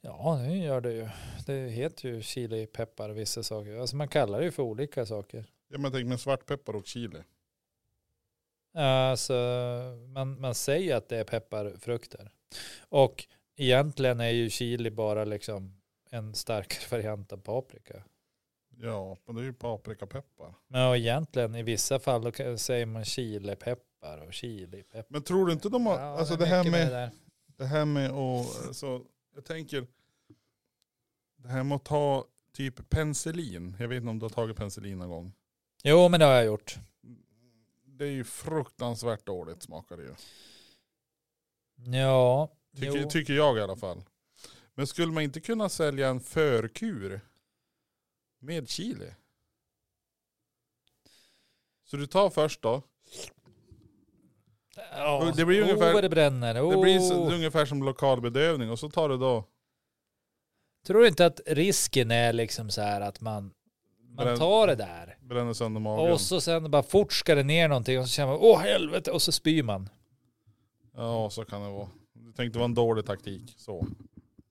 Ja, det gör det ju. Det heter ju chilipeppar vissa saker. Alltså man kallar det ju för olika saker. Ja, men jag tänker med svartpeppar och chili. Alltså, man, man säger att det är pepparfrukter. Och egentligen är ju chili bara liksom en starkare variant av paprika. Ja, men det är ju paprikapeppar. Ja, och egentligen i vissa fall då kan- säger man chilipeppar och chilipeppar. Men tror du inte de har, Ja, alltså är det här mycket med, där. Det här med att, alltså, jag tänker, det här med att ta typ penicillin. Jag vet inte om du har tagit penicillin någon gång. Jo, men det har jag gjort. Det är ju fruktansvärt dåligt smakar det ju. Ja, Tycker, jo. tycker jag i alla fall. Men skulle man inte kunna sälja en förkur med chili? Så du tar först då. ja. det blir ju oh, ungefär- vad det bränner. Oh. Det blir så, ungefär som lokalbedövning och så tar du då Tror du inte att risken är liksom så här att man, Man tar det där. Bränner sönder magen. Och så sen bara fort ska det ner någonting och så känner man åh helvete och så spyr man. Ja, så kan det vara. Du tänkte det var en dålig taktik. Så.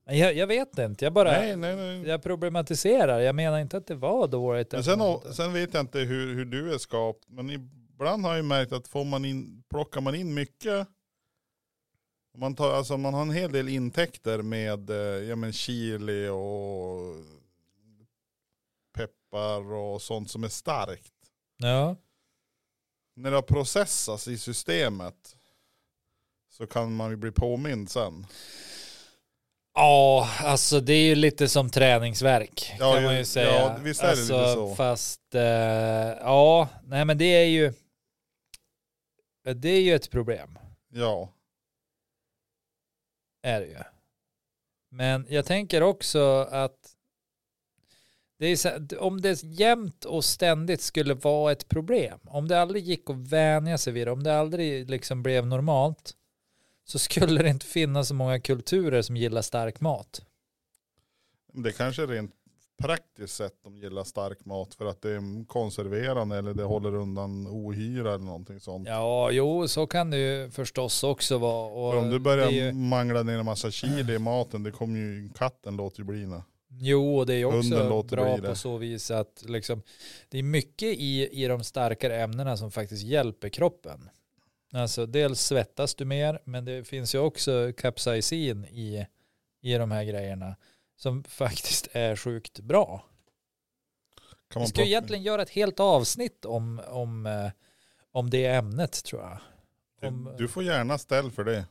Nej, Jag, jag vet inte, jag bara Nej, nej, nej. jag problematiserar. Jag menar inte att det var dåligt. Men eller sen, något. har- sen vet jag inte hur, hur du är skapt, men ibland har jag ju märkt att får man in, plockar man in mycket, om man, tar, alltså man har en hel del intäkter med eh, ja, men chili och peppar och sånt som är starkt. Ja, När det har processats i systemet så kan man ju bli påmind sen. ja alltså det är ju lite som träningsverk Ja, kan man ja, ju säga. Alltså, ja, visst är det lite så. Fast eh, ja, nej men det är ju det är ju ett problem. Ja, är det ju. Men jag tänker också att det är så, om det jämt och ständigt skulle vara ett problem, om det aldrig gick att vänja sig vid det, om det aldrig liksom blev normalt, så skulle det inte finnas så många kulturer som gillar stark mat. det kanske är rent praktiskt sett de gillar stark mat för att det är konserverande eller det håller undan ohyra eller någonting sånt. Ja, jo, så kan det ju förstås också vara. Och För om du det börjar är ju, mangla ner en massa chili i maten, det kommer ju katten låter ju bli det. jo, det är ju Hunden också låter bra bli det. på så vis att liksom, det är mycket i, i de starkare ämnena som faktiskt hjälper kroppen. Alltså dels svettas du mer, men det finns ju också capsaicin i, i de här grejerna som faktiskt är sjukt bra. Kan Vi man ska ju plocka- egentligen göra ett helt avsnitt om, om, eh, om det ämnet tror jag. om- Du får gärna ställ för det.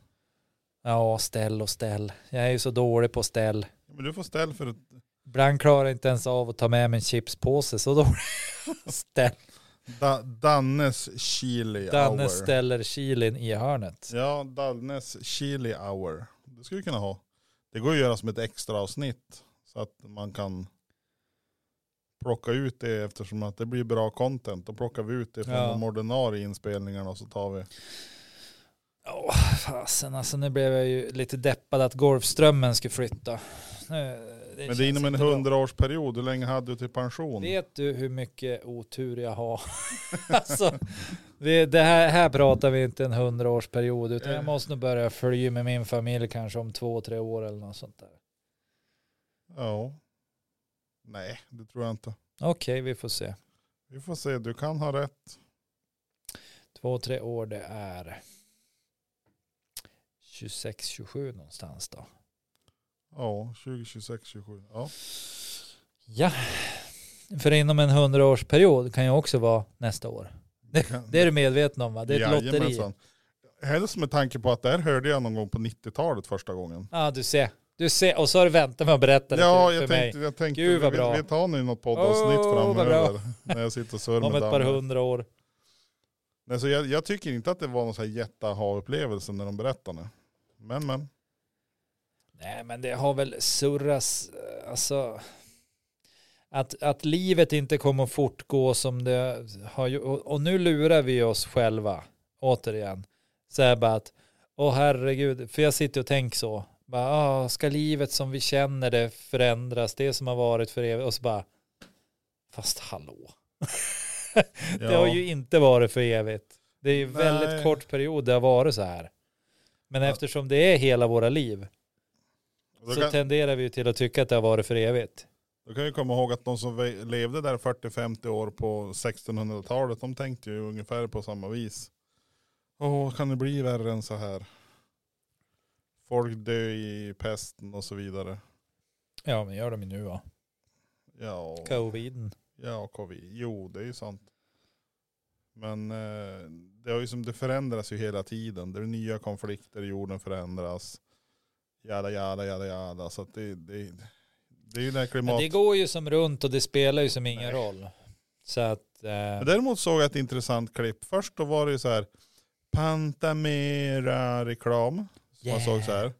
Ja, ställ och ställ. Jag är ju så dålig på ställ. Men du får ställ för ett Ibland klarar jag inte ens av att ta med mig en chipspåse, så då ställ, da, Dannes chili Danne hour. ställer chilin i hörnet. Ja, Dannes chili hour. Det skulle vi kunna ha. Det går ju att göra som ett extra avsnitt så att man kan plocka ut det eftersom att det blir bra content. Då plockar vi ut det från Ja. de ordinarie inspelningarna och så tar vi. Åh, fasen alltså nu blev jag ju lite deppad att Golfströmmen ska flytta. Nu, Men det känns är inom en inte bra. hundraårsperiod. Hur länge hade du till pension? Vet du hur mycket otur jag har? alltså, det, det här, här pratar vi inte en hundraårsperiod utan Eh. jag måste nog börja fly med min familj kanske om två, tre år eller något sånt där. Ja. Nej, det tror jag inte. Okej, vi får se. Vi får se, du kan ha rätt. Två, tre år det är 26, 27 någonstans då. Ja, 2026, 27. Ja. Ja, för inom en hundraårsperiod kan ju också vara nästa år. kan- Det är du medveten om va? Det är ett lotteri. Jajamensan. Helst med tanke på att det här hörde jag någon gång på 90-talet första gången. Ja, du ser. Du ser, och så har du väntat med att berätta det Ja, för, jag för mig. tänkte, jag tänkte Gud, vad vi, bra. vi tar nu något poddavsnitt Åh, vad framöver. När jag sitter och surrar Om med ett par Danne. hundra år. Nej, så jag, jag tycker inte att det var någon så här jätteaha-upplevelse när de berättade. Men men, Nej, men det har väl surras, alltså. Att, att livet inte kommer att fortgå som det har gjort. Och, och nu lurar vi oss själva, återigen. Så här bara att, åh herregud, för jag sitter och tänker så. Bara, ah, ska livet som vi känner det förändras, det som har varit för evigt? Och så bara, fast hallå. Det har ja, ju inte varit för evigt. Det är ju väldigt Nej. kort period det har varit så här. Men Ja. eftersom det är hela våra liv då, så kan, tenderar vi ju till att tycka att det har varit för evigt. då kan vi komma ihåg att de som ve- levde där 40-50 år på 1600-talet, de tänkte ju ungefär på samma vis. Åh, kan det bli värre än så här? Folk dö i pesten och så vidare. Ja, men gör de ju nu va? Ja. Coviden. Ja, covid. Jo, det är ju sant. Men eh, det, har ju som, det förändras ju hela tiden. Det är nya konflikter, jorden förändras. Jada, jada, jada, jada. Så att det, det, det är ju det här Men klimat. det går ju som runt och det spelar ju som ingen Nej. roll. Så att, eh, Men Däremot såg jag ett intressant klipp. Först då var det ju så här. Pantamera-reklam. som Man Yeah. såg så här.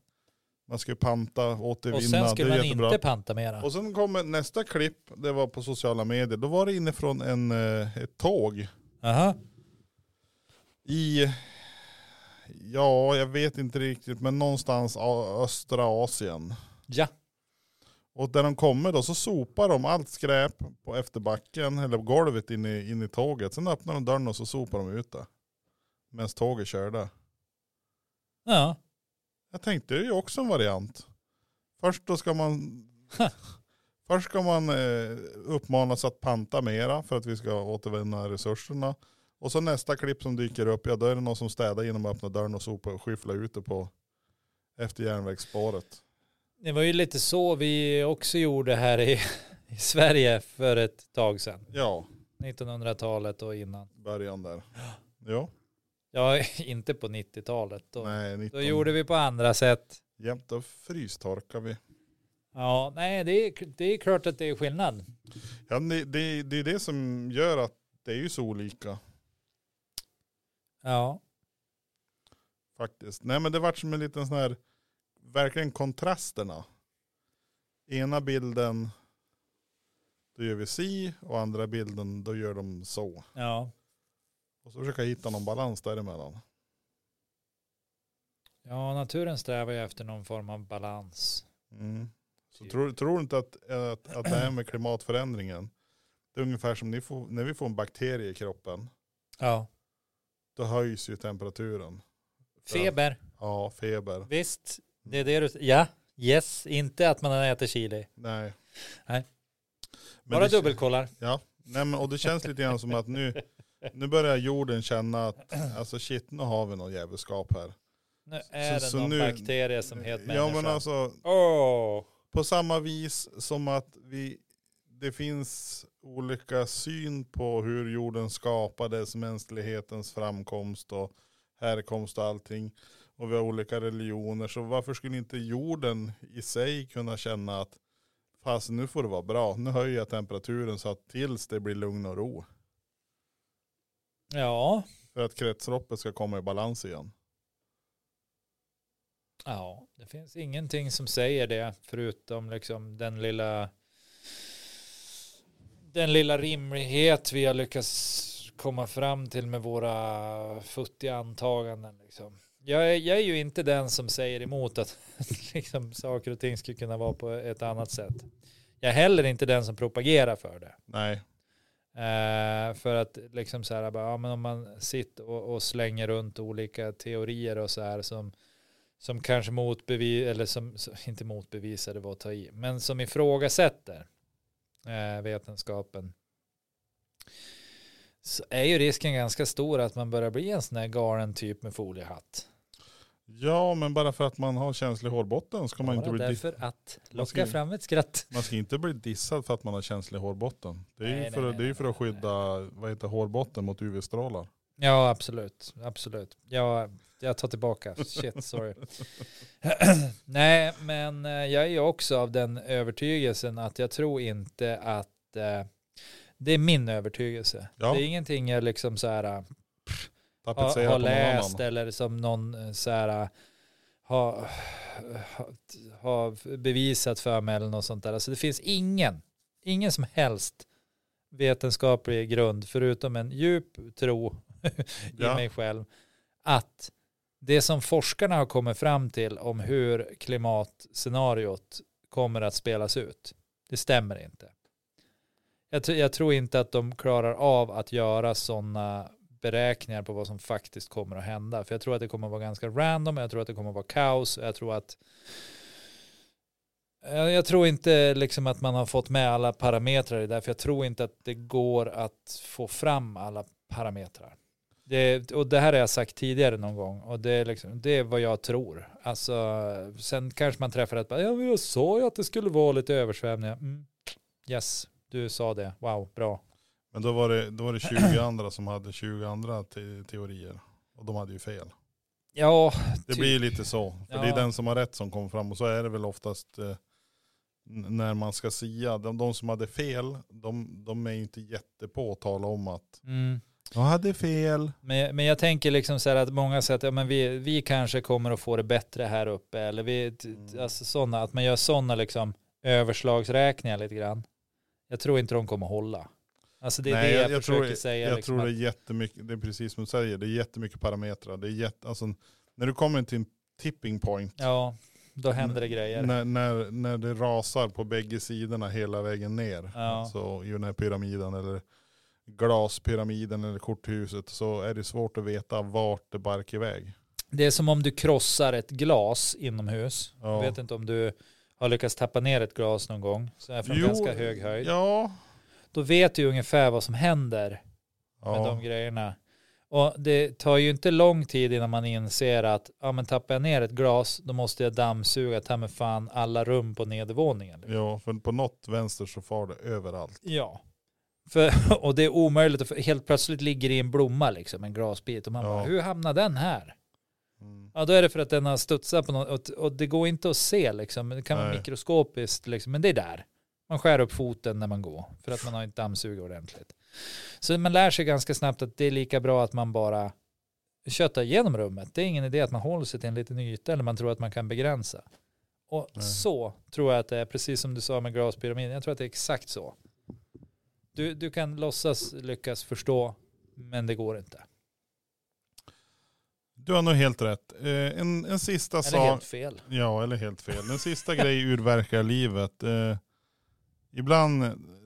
Man skulle panta, återvinna. och sen skulle det är man jättebra. inte panta mera. Och sen kom nästa klipp, det var på sociala medier. Då var det inifrån en, eh, ett tåg. Aha. I, ja jag vet inte riktigt, men någonstans a- östra Asien. Ja, Och där de kommer då så sopar de allt skräp på efterbacken eller på golvet in i, in i tåget. Sen öppnar de dörren och så sopar de ut det. Medan tåget körde. Ja. Jag tänkte det är ju också en variant. Först då ska man Ha. Först ska man eh, uppmanas att panta mera för att vi ska återvinna resurserna. Och så nästa klipp som dyker upp, ja då är det någon som städar genom att öppna dörren och sopa och skyffla ut det på efter järnvägsspåret. Det var ju lite så vi också gjorde här i, i Sverige för ett tag sedan. Ja, 1900-talet och innan. början där. Ja, Ja, inte på 90-talet. Då, nej, 19. då gjorde vi på andra sätt. Jämt då frystorkar vi. Ja, nej, det är, det är klart att det är skillnad. Ja, det, det, det är det som gör att det är ju så olika Ja, faktiskt. Nej men det vart som en liten sån här, verkligen kontrasterna. Ena bilden, då gör vi si och andra bilden, då gör de så. ja, Och så försöka hitta någon balans däremellan. ja, naturen strävar ju efter någon form av balans. Mm. Så tror, tror du inte att, att, att det här med klimatförändringen, det är ungefär som ni får, när vi får en bakterie i kroppen, Ja, då höjs ju temperaturen. feber, Ja, feber. visst, det är det du, ja, yes, inte att man äter chili. Nej. Nej. Men Bara det- dubbelkollar. Nej, men, och det känns lite grann som att nu, nu börjar jorden känna att alltså shit, nu har vi någon djävulskap här. Nu är Så- det så någon nu- bakterie som heter ja, men människa. alltså, Åh. på samma vis som att vi, det finns olika syn på hur jorden skapades, mänsklighetens framkomst och härkomst och allting. Och vi har olika religioner, så varför skulle inte jorden i sig kunna känna att fast nu får det vara bra, nu höjer jag temperaturen så att tills det blir lugn och ro. Ja, För att kretsloppet ska komma i balans igen. ja, det finns ingenting som säger det förutom liksom den lilla den lilla rimlighet vi har lyckats komma fram till med våra futtiga antaganden. Liksom. Jag, är, jag är ju inte den som säger emot att liksom, saker och ting skulle kunna vara på ett annat sätt. Jag är heller inte den som propagerar för det. Nej, Eh, för att liksom så här, bara, ja, men om man sitter och, och slänger runt olika teorier och så här som, som kanske motbevisar, eller som, som- inte motbevisar, det var att ta i, men som ifrågasätter eh, vetenskapen. Så är ju risken ganska stor att man börjar bli en sån här galen typ med foliehatt. ja men bara för att man har känslig hårbotten ska man inte Bara bli dis- därför att man ska locka ju- fram ett skratt. man ska inte bli dissad för att man har känslig hårbotten. Det är Nej, ju för, nej, nej, det är ju nej, för att nej, nej. skydda vad heter, hårbotten mot UV-strålar. Ja, absolut. Absolut. Jag, jag tar tillbaka. Shit, sorry. Nej, men eh, jag är ju också av den övertygelsen att jag tror inte att eh, det är min övertygelse. Ja. Det är ingenting jag liksom så här eh, har, Tapetsera har på någon läst annan. eller som någon eh, så här eh, har, har bevisat för mig eller något sånt där. Alltså det finns ingen, ingen som helst vetenskaplig grund förutom en djup tro i Ja. mig själv att det som forskarna har kommit fram till om hur klimatscenariot kommer att spelas ut, det stämmer inte. Jag, tr- jag tror inte att de klarar av att göra sådana beräkningar på vad som faktiskt kommer att hända. För jag tror att det kommer att vara ganska random, jag tror att det kommer att vara kaos, jag tror att jag jag tror inte liksom att man har fått med alla parametrar i det, här, för jag tror inte att det går att få fram alla parametrar. Det, och det här har jag sagt tidigare någon gång och det är, liksom, det är vad jag tror. Alltså, sen kanske man träffar ett, bara, ja, men jag sa ju att det skulle vara lite översvämningar. Mm. Yes, du sa det. Wow, bra. Men då var, det, då var det 20 andra som hade 20 andra te teorier. Och de hade ju fel. Ja, Det Typ. blir ju lite så. För det Ja. är den som har rätt som kommer fram. Och så är det väl oftast eh, n- när man ska sia. De, de som hade fel, de, de är ju inte jättepå att tala om att mm. jag hade fel. men, men jag tänker liksom så här att många säger att ja, men vi, vi kanske kommer att få det bättre här uppe. Eller vi, t- Mm. t- alltså sådana, att man gör sådana liksom överslagsräkningar lite grann. Jag tror inte de kommer hålla. Alltså det är det jag, försöker tror, säga. Jag liksom, tror att- det är jättemycket, det är precis som du säger, det är jättemycket parametrar. Det är jätte, alltså, när du kommer till en tipping point, Ja, då händer det grejer. När, när, när det rasar på bägge sidorna hela vägen ner. Ja. Alltså i den här pyramiden eller glaspyramiden eller korthuset så är det svårt att veta vart det barkar iväg. Det är som om du krossar ett glas inomhus. Ja. Jag vet inte om du har lyckats tappa ner ett glas någon gång. Så här från Jo, ganska hög höjd. Ja. Då vet du ju ungefär vad som händer med ja. de grejerna. Och det tar ju inte lång tid innan man inser att ja, men tappar jag ner ett glas då måste jag dammsuga ta med fan alla rum på nedervåningen. liksom. Ja, för på något vänster så far det överallt. Ja. För, och det är omöjligt, att- för helt plötsligt ligger det i en blomma liksom, en glasbit. Och man Ja. bara, hur hamnade den här? Mm. Ja, då är det för att den har studsat på något, och, och det går inte att se liksom. Det kan vara Nej. mikroskopiskt liksom, men det är där. Man skär upp foten när man går, för att man har inte dammsugit ordentligt. Så man lär sig ganska snabbt att det är lika bra att man bara köttar igenom rummet. Det är ingen idé att man håller sig till en liten yta eller man tror att man kan begränsa. Och Nej. så tror jag att det är, precis som du sa med glaspyramiden, jag tror att det är exakt så. Du, du kan låtsas lyckas förstå, men det går inte. Du har nog helt rätt. Eh, en, en sista Eller sak. helt fel. Ja, eller helt fel. En sista grej urverkar livet. Eh, ibland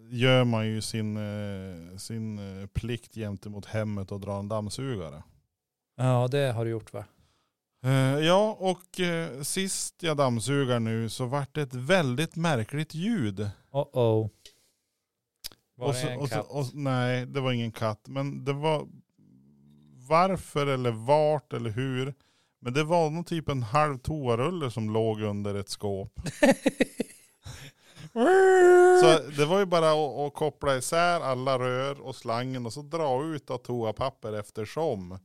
gör man ju sin, eh, sin eh, plikt gentemot hemmet och drar en dammsugare. Ja, det har du gjort va? Eh, ja, och eh, sist jag dammsugar nu så vart det ett väldigt märkligt ljud. Oh oh. Var och det så- en och så- katt? och, nej, det var ingen katt. Men det var varför eller vart eller hur. Men det var nog typ en halv toarulle som låg under ett skåp. Så det var ju bara att, att koppla isär alla rör och slangen och så dra ut av toapapper eftersom.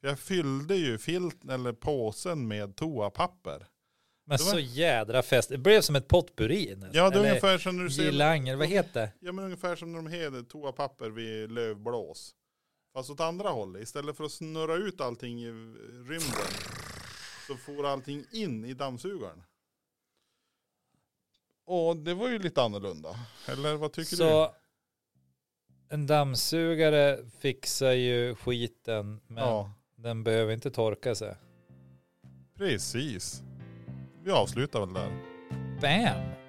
Jag fyllde ju filten eller påsen med toapapper. Men det var- så jädra fest. Det blev som ett potpurri. nästan. Ja, det är Eller ungefär som när du ser Girlanger, vad heter det? Ja men ungefär som när de hade toapapper vid lövblås. Fast åt andra hållet. Istället för att snurra ut allting i rymden. Så for allting in i dammsugaren. Och det var ju lite annorlunda. Eller vad tycker du? Så en dammsugare fixar ju skiten men Ja, den behöver inte torka sig. precis. Vi avslutar väl där. Bam!